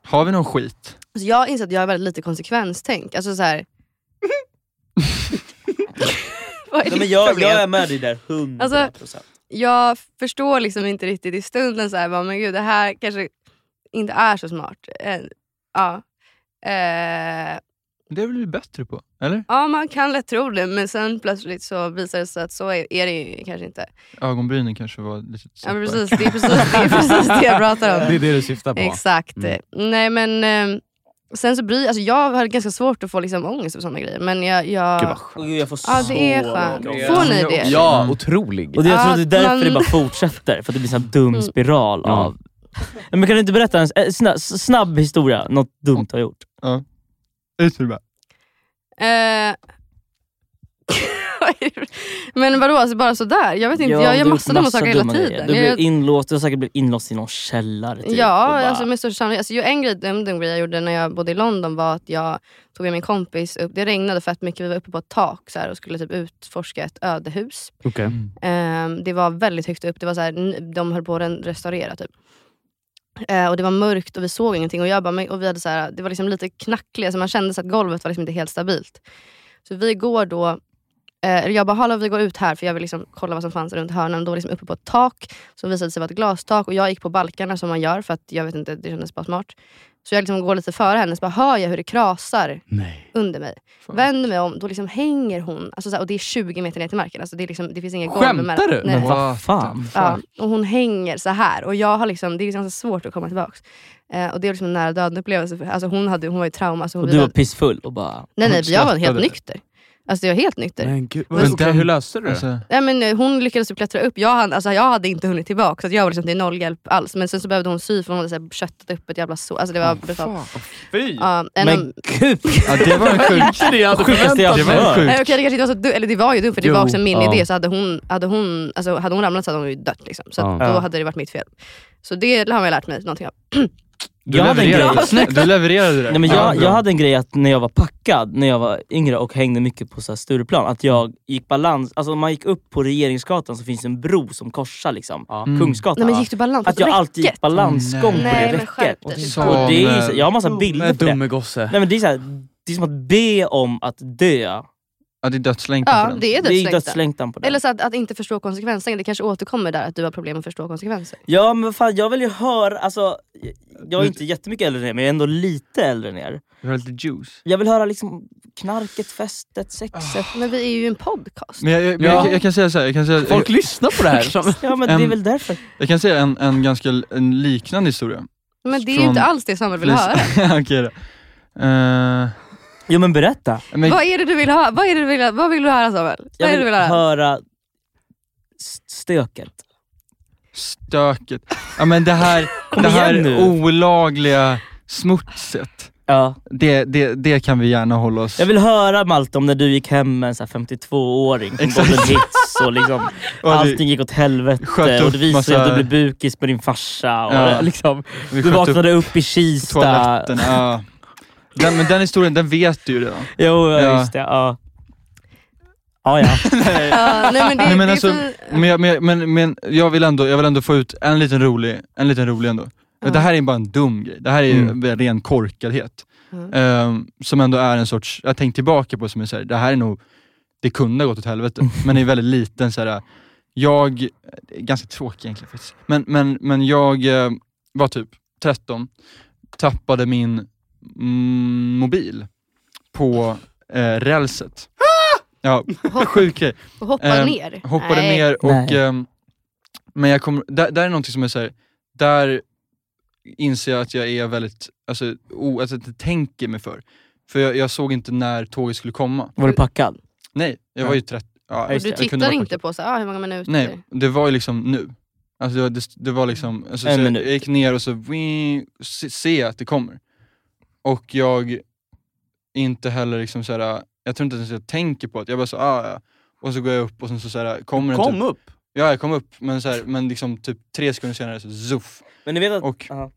[SPEAKER 4] Har vi någon skit?
[SPEAKER 5] Alltså, jag har insett att jag har väldigt lite konsekvenstänk. Alltså så här... Vad är
[SPEAKER 6] Nej, men
[SPEAKER 5] ditt
[SPEAKER 6] jag,
[SPEAKER 5] problem?
[SPEAKER 6] jag är med dig där 100%.
[SPEAKER 5] Alltså, jag förstår liksom inte riktigt i stunden, så här, bara, men gud det här kanske inte är så smart. Eh, ja. Eh,
[SPEAKER 4] Det är väl vi bättre på? Eller?
[SPEAKER 5] ja, man kan lätt tro det men sen plötsligt så visar det sig att så är, är det ju kanske inte.
[SPEAKER 4] Ögonbrynen kanske var lite...
[SPEAKER 5] Ja, men precis, det, är precis, det är precis det jag pratar om.
[SPEAKER 4] Det är det du syftar på.
[SPEAKER 5] Exakt.
[SPEAKER 4] Mm.
[SPEAKER 5] Nej, men, eh, sen så bryr, alltså, jag har ganska svårt att få liksom, ångest och sådana grejer. Men jag, jag,
[SPEAKER 6] Åh, gud, jag får
[SPEAKER 5] Ja,
[SPEAKER 6] så
[SPEAKER 5] det är skönt.
[SPEAKER 6] mycket
[SPEAKER 5] Får
[SPEAKER 6] ångest.
[SPEAKER 5] ni det?
[SPEAKER 13] Ja,
[SPEAKER 4] Mm.
[SPEAKER 13] otrolig.
[SPEAKER 6] Och det, jag tror
[SPEAKER 5] Ja,
[SPEAKER 6] det är därför
[SPEAKER 5] man- Mm.
[SPEAKER 6] det bara fortsätter, för att det blir en sån dum spiral
[SPEAKER 13] Ja.
[SPEAKER 6] av... Nej, Men kan du inte berätta en s- eh, snabb, snabb historia, något dumt du har gjort?
[SPEAKER 4] Ja. Ut med det bara.
[SPEAKER 5] Eh, men vadå, alltså, bara sådär? Jag vet inte, jag
[SPEAKER 6] du
[SPEAKER 5] gör
[SPEAKER 6] har
[SPEAKER 5] massa
[SPEAKER 6] gjort
[SPEAKER 5] dumma saker hela
[SPEAKER 6] dumma grejer.
[SPEAKER 5] tiden.
[SPEAKER 6] Du,
[SPEAKER 5] Jag-
[SPEAKER 6] blev inlåst, du har säkert blivit inlåst i någon källare. Typ,
[SPEAKER 5] ja,
[SPEAKER 6] och bara-
[SPEAKER 5] alltså med största sannolikhet. Alltså, ju en grej, dum, dum grej jag gjorde när jag bodde i London var att jag tog med min kompis upp. Det regnade fett mycket, vi var uppe på ett tak så här, och skulle typ utforska ett ödehus. Ehm, det var väldigt högt upp, det var så här, n- de höll på att ren- restaurera. Typ. Eh, och Det var mörkt och vi såg ingenting. Och jag bara, men- och vi hade så här, det var liksom lite knackliga, så man kände så att golvet var liksom inte helt stabilt. Så vi går då, eh, eller jag bara, hallå vi går ut här för jag vill liksom kolla vad som fanns runt hörnan. Då var liksom uppe på ett tak som visade sig vara ett glastak och jag gick på balkarna som man gör för att jag vet inte, det kändes bara smart. Så jag liksom går lite före henne så bara hör jag hur det krasar under mig. Vänder mig om, då liksom hänger hon, alltså så här, och det är 20 meter ner till marken. Alltså det, är liksom, det finns inga golv emellan.
[SPEAKER 13] Skämtar du?
[SPEAKER 5] Nej.
[SPEAKER 13] Men vad fan.
[SPEAKER 5] Ja, och hon hänger så här och jag har liksom, det är ganska svårt att komma tillbaka. Eh, och det är liksom en nära döden upplevelse. för- Alltså hon, hade, hon var ju trauma. Så hon
[SPEAKER 6] och du var
[SPEAKER 5] vilade-
[SPEAKER 6] pissfull och bara...
[SPEAKER 5] nej nej, jag var helt
[SPEAKER 6] Skrattade.
[SPEAKER 5] nykter. Alltså jag var helt nykter.
[SPEAKER 12] Men gud,
[SPEAKER 5] Men
[SPEAKER 12] men
[SPEAKER 4] den-
[SPEAKER 12] hur löste du det?
[SPEAKER 4] Alltså,
[SPEAKER 5] Nej, men, eh, hon lyckades typ klättra upp, jag, hann, alltså, jag hade inte hunnit tillbaka. Så att jag var liksom till noll hjälp alls. Men sen så behövde hon sy för hon hade så här, köttat upp ett jävla sår. Alltså det var brutalt.
[SPEAKER 12] Fy!
[SPEAKER 5] Ja, en av-
[SPEAKER 6] Men gud!
[SPEAKER 4] ja, det var en sjuk...
[SPEAKER 12] Inte det jag hade
[SPEAKER 6] Sjukaste
[SPEAKER 12] förväntat
[SPEAKER 6] jag
[SPEAKER 12] mig.
[SPEAKER 4] var
[SPEAKER 6] hört.
[SPEAKER 5] Nej, okej, det kanske inte var så dumt, eller det var ju dumt för det
[SPEAKER 13] Jo,
[SPEAKER 5] var också min
[SPEAKER 13] ja.
[SPEAKER 5] idé. Så hade hon, hade, hon, alltså, hade hon ramlat så hade hon ju dött. Liksom. Så att
[SPEAKER 13] Ja.
[SPEAKER 5] då
[SPEAKER 6] Ja.
[SPEAKER 5] hade det varit mitt fel. Så det har jag lärt mig någonting av.
[SPEAKER 4] Du,
[SPEAKER 6] Jag hade en
[SPEAKER 4] levererade.
[SPEAKER 6] grej. Snyggt.
[SPEAKER 4] du levererade det.
[SPEAKER 6] Nej, men jag,
[SPEAKER 4] bra.
[SPEAKER 6] jag hade en grej att när jag var packad, när jag var yngre och hängde mycket på så här Stureplan, att jag gick balans... Alltså om man gick upp på Regeringsgatan så finns det en bro som korsar liksom, Kungsgatan.
[SPEAKER 5] Nej, men gick du balans på
[SPEAKER 6] att jag alltid gick
[SPEAKER 5] räcket?
[SPEAKER 6] balansgång på
[SPEAKER 5] Nej,
[SPEAKER 6] det
[SPEAKER 5] men skärp
[SPEAKER 6] räcket.
[SPEAKER 5] dig.
[SPEAKER 4] Som,
[SPEAKER 6] Och det är, så- jag har massa
[SPEAKER 4] eh,
[SPEAKER 6] bilder på det.
[SPEAKER 13] Dumme gosse.
[SPEAKER 6] Nej, men det, är så här, det är som att be om att dö.
[SPEAKER 4] Ja, det är dödslängtan på
[SPEAKER 5] Ja,
[SPEAKER 4] den.
[SPEAKER 5] det är
[SPEAKER 6] Det är
[SPEAKER 5] dödslängtan.
[SPEAKER 6] dödslängtan på det.
[SPEAKER 5] Eller så att, att inte förstå konsekvenser. Det kanske återkommer där att du har problem att förstå konsekvenser.
[SPEAKER 6] Ja men fan jag vill ju höra, alltså, jag är inte jättemycket äldre än er men jag är ändå lite äldre än er.
[SPEAKER 4] Du har lite juice.
[SPEAKER 6] Jag vill höra liksom knarket, festet, sexet.
[SPEAKER 4] Ah.
[SPEAKER 5] Men vi är ju en podcast.
[SPEAKER 4] Men jag, jag, men
[SPEAKER 13] Ja.
[SPEAKER 4] jag, jag kan säga så här, jag kan säga,
[SPEAKER 13] Folk lyssnar på det här. Som...
[SPEAKER 6] Ja men det är
[SPEAKER 4] Ehm,
[SPEAKER 6] väl därför.
[SPEAKER 4] jag kan säga en, en ganska l- en liknande historia.
[SPEAKER 5] Men det är ju
[SPEAKER 4] Från-
[SPEAKER 5] inte alls det Samuel vill höra.
[SPEAKER 4] Okej då. Eh,
[SPEAKER 6] Jo men berätta.
[SPEAKER 4] men,
[SPEAKER 5] Vad är det du vill höra? Vad, är det du vill, vad vill du höra Samuel?
[SPEAKER 6] Jag
[SPEAKER 5] Vad är det
[SPEAKER 6] vill,
[SPEAKER 5] du vill höra?
[SPEAKER 6] höra s- stöket.
[SPEAKER 4] stöket. Ja men det här,
[SPEAKER 6] Kom
[SPEAKER 4] det här
[SPEAKER 6] igen nu.
[SPEAKER 4] olagliga smutset.
[SPEAKER 6] Ja.
[SPEAKER 4] Det, det, det kan vi gärna hålla oss...
[SPEAKER 6] Jag vill höra Malte om när du gick hem med en så här 52-åring som
[SPEAKER 4] Exakt.
[SPEAKER 6] bodde hits och liksom,
[SPEAKER 4] Och vi-
[SPEAKER 6] allting gick åt helvete
[SPEAKER 4] Sköt
[SPEAKER 6] och det
[SPEAKER 4] upp
[SPEAKER 6] visade sig att du
[SPEAKER 4] massa-
[SPEAKER 6] blev bukis med din farsa. Och
[SPEAKER 4] Ja.
[SPEAKER 6] liksom,
[SPEAKER 4] vi
[SPEAKER 6] du
[SPEAKER 4] sköt upp
[SPEAKER 6] vaknade upp i Kista.
[SPEAKER 4] toaletten. Ja. Den, men den historien, den vet du ju redan.
[SPEAKER 6] Jo, ja.
[SPEAKER 4] Ja.
[SPEAKER 6] just det. Ja. Ja, ja.
[SPEAKER 5] Ja, nej, men det,
[SPEAKER 4] Nej, men,
[SPEAKER 5] det
[SPEAKER 4] alltså,
[SPEAKER 5] är för...
[SPEAKER 4] men, jag- men, jag- men, men jag, vill ändå, jag vill ändå få ut en liten rolig, en liten rolig ändå. Det här är bara en dum grej. Det här är ju ren korkadhet. Ehm, som ändå är en sorts, jag tänkt tillbaka på som är så här, det här är nog, det kunde ha gått åt helvete. Men det är väldigt liten så här. jag, det är ganska tråkig egentligen faktiskt. Men, men, men jag eh, var typ 13, tappade min mm, mobil på eh, rälset. Ja, sjuk grej.
[SPEAKER 5] Och hoppar
[SPEAKER 4] Eh,
[SPEAKER 5] ner?
[SPEAKER 4] Hoppade
[SPEAKER 5] Nej.
[SPEAKER 4] ner och...
[SPEAKER 5] Nej.
[SPEAKER 4] ehm, men jag kommer, där, där är någonting som är såhär, där inser jag att jag är väldigt, alltså, o, alltså att jag tänker mig för. För jag, jag såg inte när tåget skulle komma.
[SPEAKER 6] Var du packad?
[SPEAKER 4] Nej, jag var ju 30. Ja,
[SPEAKER 5] och
[SPEAKER 4] jag
[SPEAKER 5] du
[SPEAKER 4] kunde vara
[SPEAKER 5] tittar
[SPEAKER 4] packad.
[SPEAKER 5] inte på så, här, ah, hur många minuter?
[SPEAKER 4] Nej, det var ju liksom nu. Alltså det, var- det, det var liksom, alltså,
[SPEAKER 6] En
[SPEAKER 4] så jag,
[SPEAKER 6] minut.
[SPEAKER 4] jag gick ner och så wii, se, ser jag att det kommer. Och jag inte heller liksom såhär, jag tror inte ens jag tänker på det. Jag bara så, ah, ja. Och så går jag upp och sen så såhär, kommer den
[SPEAKER 14] Kom
[SPEAKER 4] typ,
[SPEAKER 14] upp!
[SPEAKER 4] Ja, jag kom upp, men, såhär, men liksom typ tre sekunder senare så zuff.
[SPEAKER 6] Men ni vet att...
[SPEAKER 4] Och,
[SPEAKER 6] aha.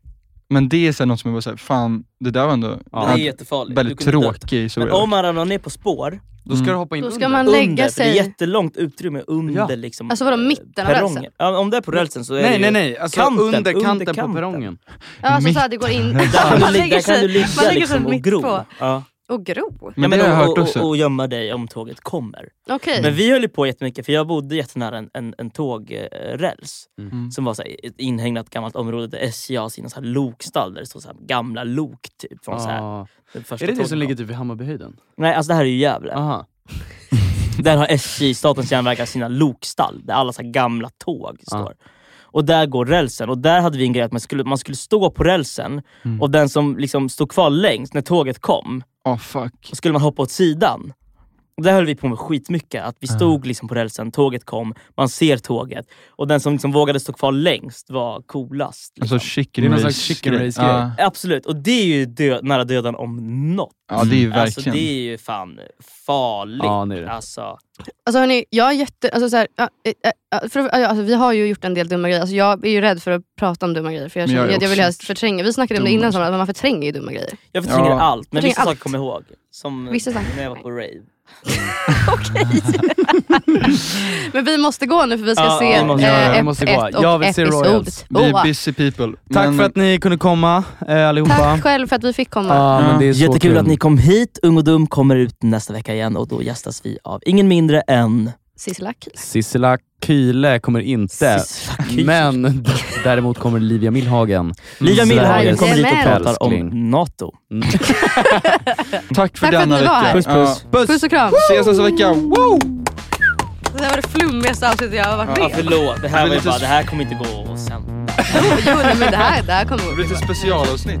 [SPEAKER 4] Men det är såhär, något som jag bara såhär, fan det där var ändå
[SPEAKER 6] Det är jättefarligt.
[SPEAKER 4] väldigt
[SPEAKER 6] Du kommer dö.
[SPEAKER 4] tråkig
[SPEAKER 6] Men
[SPEAKER 4] historia.
[SPEAKER 6] om man ramlar ner på spår,
[SPEAKER 4] Då ska Mm. du hoppa
[SPEAKER 5] in Då ska under. man lägga
[SPEAKER 6] under.
[SPEAKER 5] sig-
[SPEAKER 6] Det är jättelångt utrymme under liksom,
[SPEAKER 5] Alltså vadå, mitten av rälsen?
[SPEAKER 6] perrongen. Ja, om det är på rälsen så är
[SPEAKER 13] Nej,
[SPEAKER 6] det
[SPEAKER 13] nej,
[SPEAKER 6] ju
[SPEAKER 13] nej. Alltså,
[SPEAKER 6] kanten,
[SPEAKER 13] under kanten på
[SPEAKER 6] perrongen.
[SPEAKER 5] Ja, alltså såhär, det går in...
[SPEAKER 6] Där kan du,
[SPEAKER 5] man
[SPEAKER 6] ligga-
[SPEAKER 5] lägger
[SPEAKER 6] där kan du
[SPEAKER 5] sig,
[SPEAKER 6] ligga
[SPEAKER 5] man lägger sig
[SPEAKER 6] liksom, och
[SPEAKER 5] mitt
[SPEAKER 6] gro.
[SPEAKER 5] på.
[SPEAKER 6] Ja.
[SPEAKER 5] Och gro?
[SPEAKER 6] Ja, men
[SPEAKER 4] det har jag
[SPEAKER 6] och,
[SPEAKER 4] hört också.
[SPEAKER 6] Och, och gömma dig om tåget kommer.
[SPEAKER 5] Okej.
[SPEAKER 6] Men vi höll ju på jättemycket, för jag bodde jättenära en, en, en tågräls.
[SPEAKER 13] Mm.
[SPEAKER 6] Som var så här, ett inhägnat gammalt område där SJ har sina så här lokstall där det står så här gamla lok typ. Från så här,
[SPEAKER 13] Ah.
[SPEAKER 6] den
[SPEAKER 13] Är
[SPEAKER 6] första
[SPEAKER 13] det det
[SPEAKER 6] tågen
[SPEAKER 13] som
[SPEAKER 6] kom.
[SPEAKER 13] ligger Ah. typ vid Hammarbyhöjden?
[SPEAKER 6] Nej, alltså det här är ju Gävle. där har SJ, Statens järnvägar, sina lokstall där alla så här gamla tåg
[SPEAKER 13] Ah.
[SPEAKER 6] står. Och där går rälsen. Och där hade vi en grej att man skulle, man skulle stå på rälsen
[SPEAKER 13] Mm.
[SPEAKER 6] och den som liksom stod kvar längst när tåget kom,
[SPEAKER 4] oh, fuck.
[SPEAKER 6] skulle man hoppa åt sidan. Och där höll vi på med skitmycket. Att vi stod liksom på rälsen, tåget kom, man ser tåget. Och den som liksom vågade stå kvar längst var coolast. liksom.
[SPEAKER 4] Alltså chicken
[SPEAKER 13] Det är någon slags
[SPEAKER 4] race-grej.
[SPEAKER 13] chicken race-grej.
[SPEAKER 4] Ja.
[SPEAKER 6] Absolut, och det är ju dö- nära döden om något.
[SPEAKER 4] Ja, det är ju
[SPEAKER 6] Alltså,
[SPEAKER 4] verkligen.
[SPEAKER 6] det är ju fan farligt.
[SPEAKER 13] Ja, det är det.
[SPEAKER 6] Alltså,
[SPEAKER 5] Alltså hörni, jag är jätte... Alltså, så här, ja, eh, eh, för, ja, alltså, vi har ju gjort en del dumma grejer. Alltså, jag är ju rädd för att prata om dumma grejer. För jag,
[SPEAKER 6] Men jag
[SPEAKER 5] känner, jag,
[SPEAKER 6] är
[SPEAKER 5] jag vill
[SPEAKER 6] också
[SPEAKER 5] helst förtränga. Vi snackade om det
[SPEAKER 6] dum,
[SPEAKER 5] innan,
[SPEAKER 6] alltså.
[SPEAKER 5] alltså. att man förtränger ju dumma grejer.
[SPEAKER 6] jag förtränger
[SPEAKER 5] Ja.
[SPEAKER 6] allt, men
[SPEAKER 5] Förtränger
[SPEAKER 6] vissa saker
[SPEAKER 5] allt.
[SPEAKER 6] kommer jag ihåg. Som
[SPEAKER 5] Vissa saker.
[SPEAKER 6] när jag var på rave.
[SPEAKER 5] Men vi måste gå nu för vi ska
[SPEAKER 13] Ja,
[SPEAKER 5] se
[SPEAKER 13] ja, vi måste göra det.
[SPEAKER 5] eh,
[SPEAKER 13] Vi
[SPEAKER 5] ep-
[SPEAKER 13] måste gå.
[SPEAKER 5] ett
[SPEAKER 13] Jag
[SPEAKER 5] och
[SPEAKER 13] vill se
[SPEAKER 5] episod
[SPEAKER 13] Royals.
[SPEAKER 4] Vi
[SPEAKER 5] två.
[SPEAKER 4] är busy people.
[SPEAKER 13] Tack
[SPEAKER 4] men-
[SPEAKER 13] för att ni kunde komma eh, allihopa.
[SPEAKER 5] Tack själv för att vi fick komma.
[SPEAKER 13] Ja, men det är så
[SPEAKER 6] Jättekul
[SPEAKER 13] kul.
[SPEAKER 6] att ni kom hit. Ung och Dum kommer ut nästa vecka igen och då gästas vi av ingen mindre än...
[SPEAKER 5] Sissela Kiel.
[SPEAKER 13] Sissela Kyle kommer inte,
[SPEAKER 6] Sissela Kyle.
[SPEAKER 13] men d- däremot kommer Livia Millhagen.
[SPEAKER 6] Mm. Livia Millhagen
[SPEAKER 13] Sveriges
[SPEAKER 6] kommer hit och pratar
[SPEAKER 13] älskling.
[SPEAKER 6] om NATO.
[SPEAKER 4] Tack för
[SPEAKER 5] Tack för att
[SPEAKER 4] denna
[SPEAKER 5] ni var
[SPEAKER 4] vecka.
[SPEAKER 5] här.
[SPEAKER 6] Puss,
[SPEAKER 4] Ja.
[SPEAKER 6] puss.
[SPEAKER 5] Puss och kram.
[SPEAKER 4] Ses nästa vecka. Woo!
[SPEAKER 5] Det här var det flummigaste avsnittet jag har varit med
[SPEAKER 6] Ja,
[SPEAKER 5] om.
[SPEAKER 6] förlåt, det
[SPEAKER 4] Det
[SPEAKER 6] här,
[SPEAKER 4] blir
[SPEAKER 6] var ju
[SPEAKER 4] lite
[SPEAKER 6] bara,
[SPEAKER 4] s-
[SPEAKER 6] det här kommer inte gå att sända.
[SPEAKER 5] Jo, nej, men det här, det här kommer
[SPEAKER 4] Det blir lite specialavsnitt.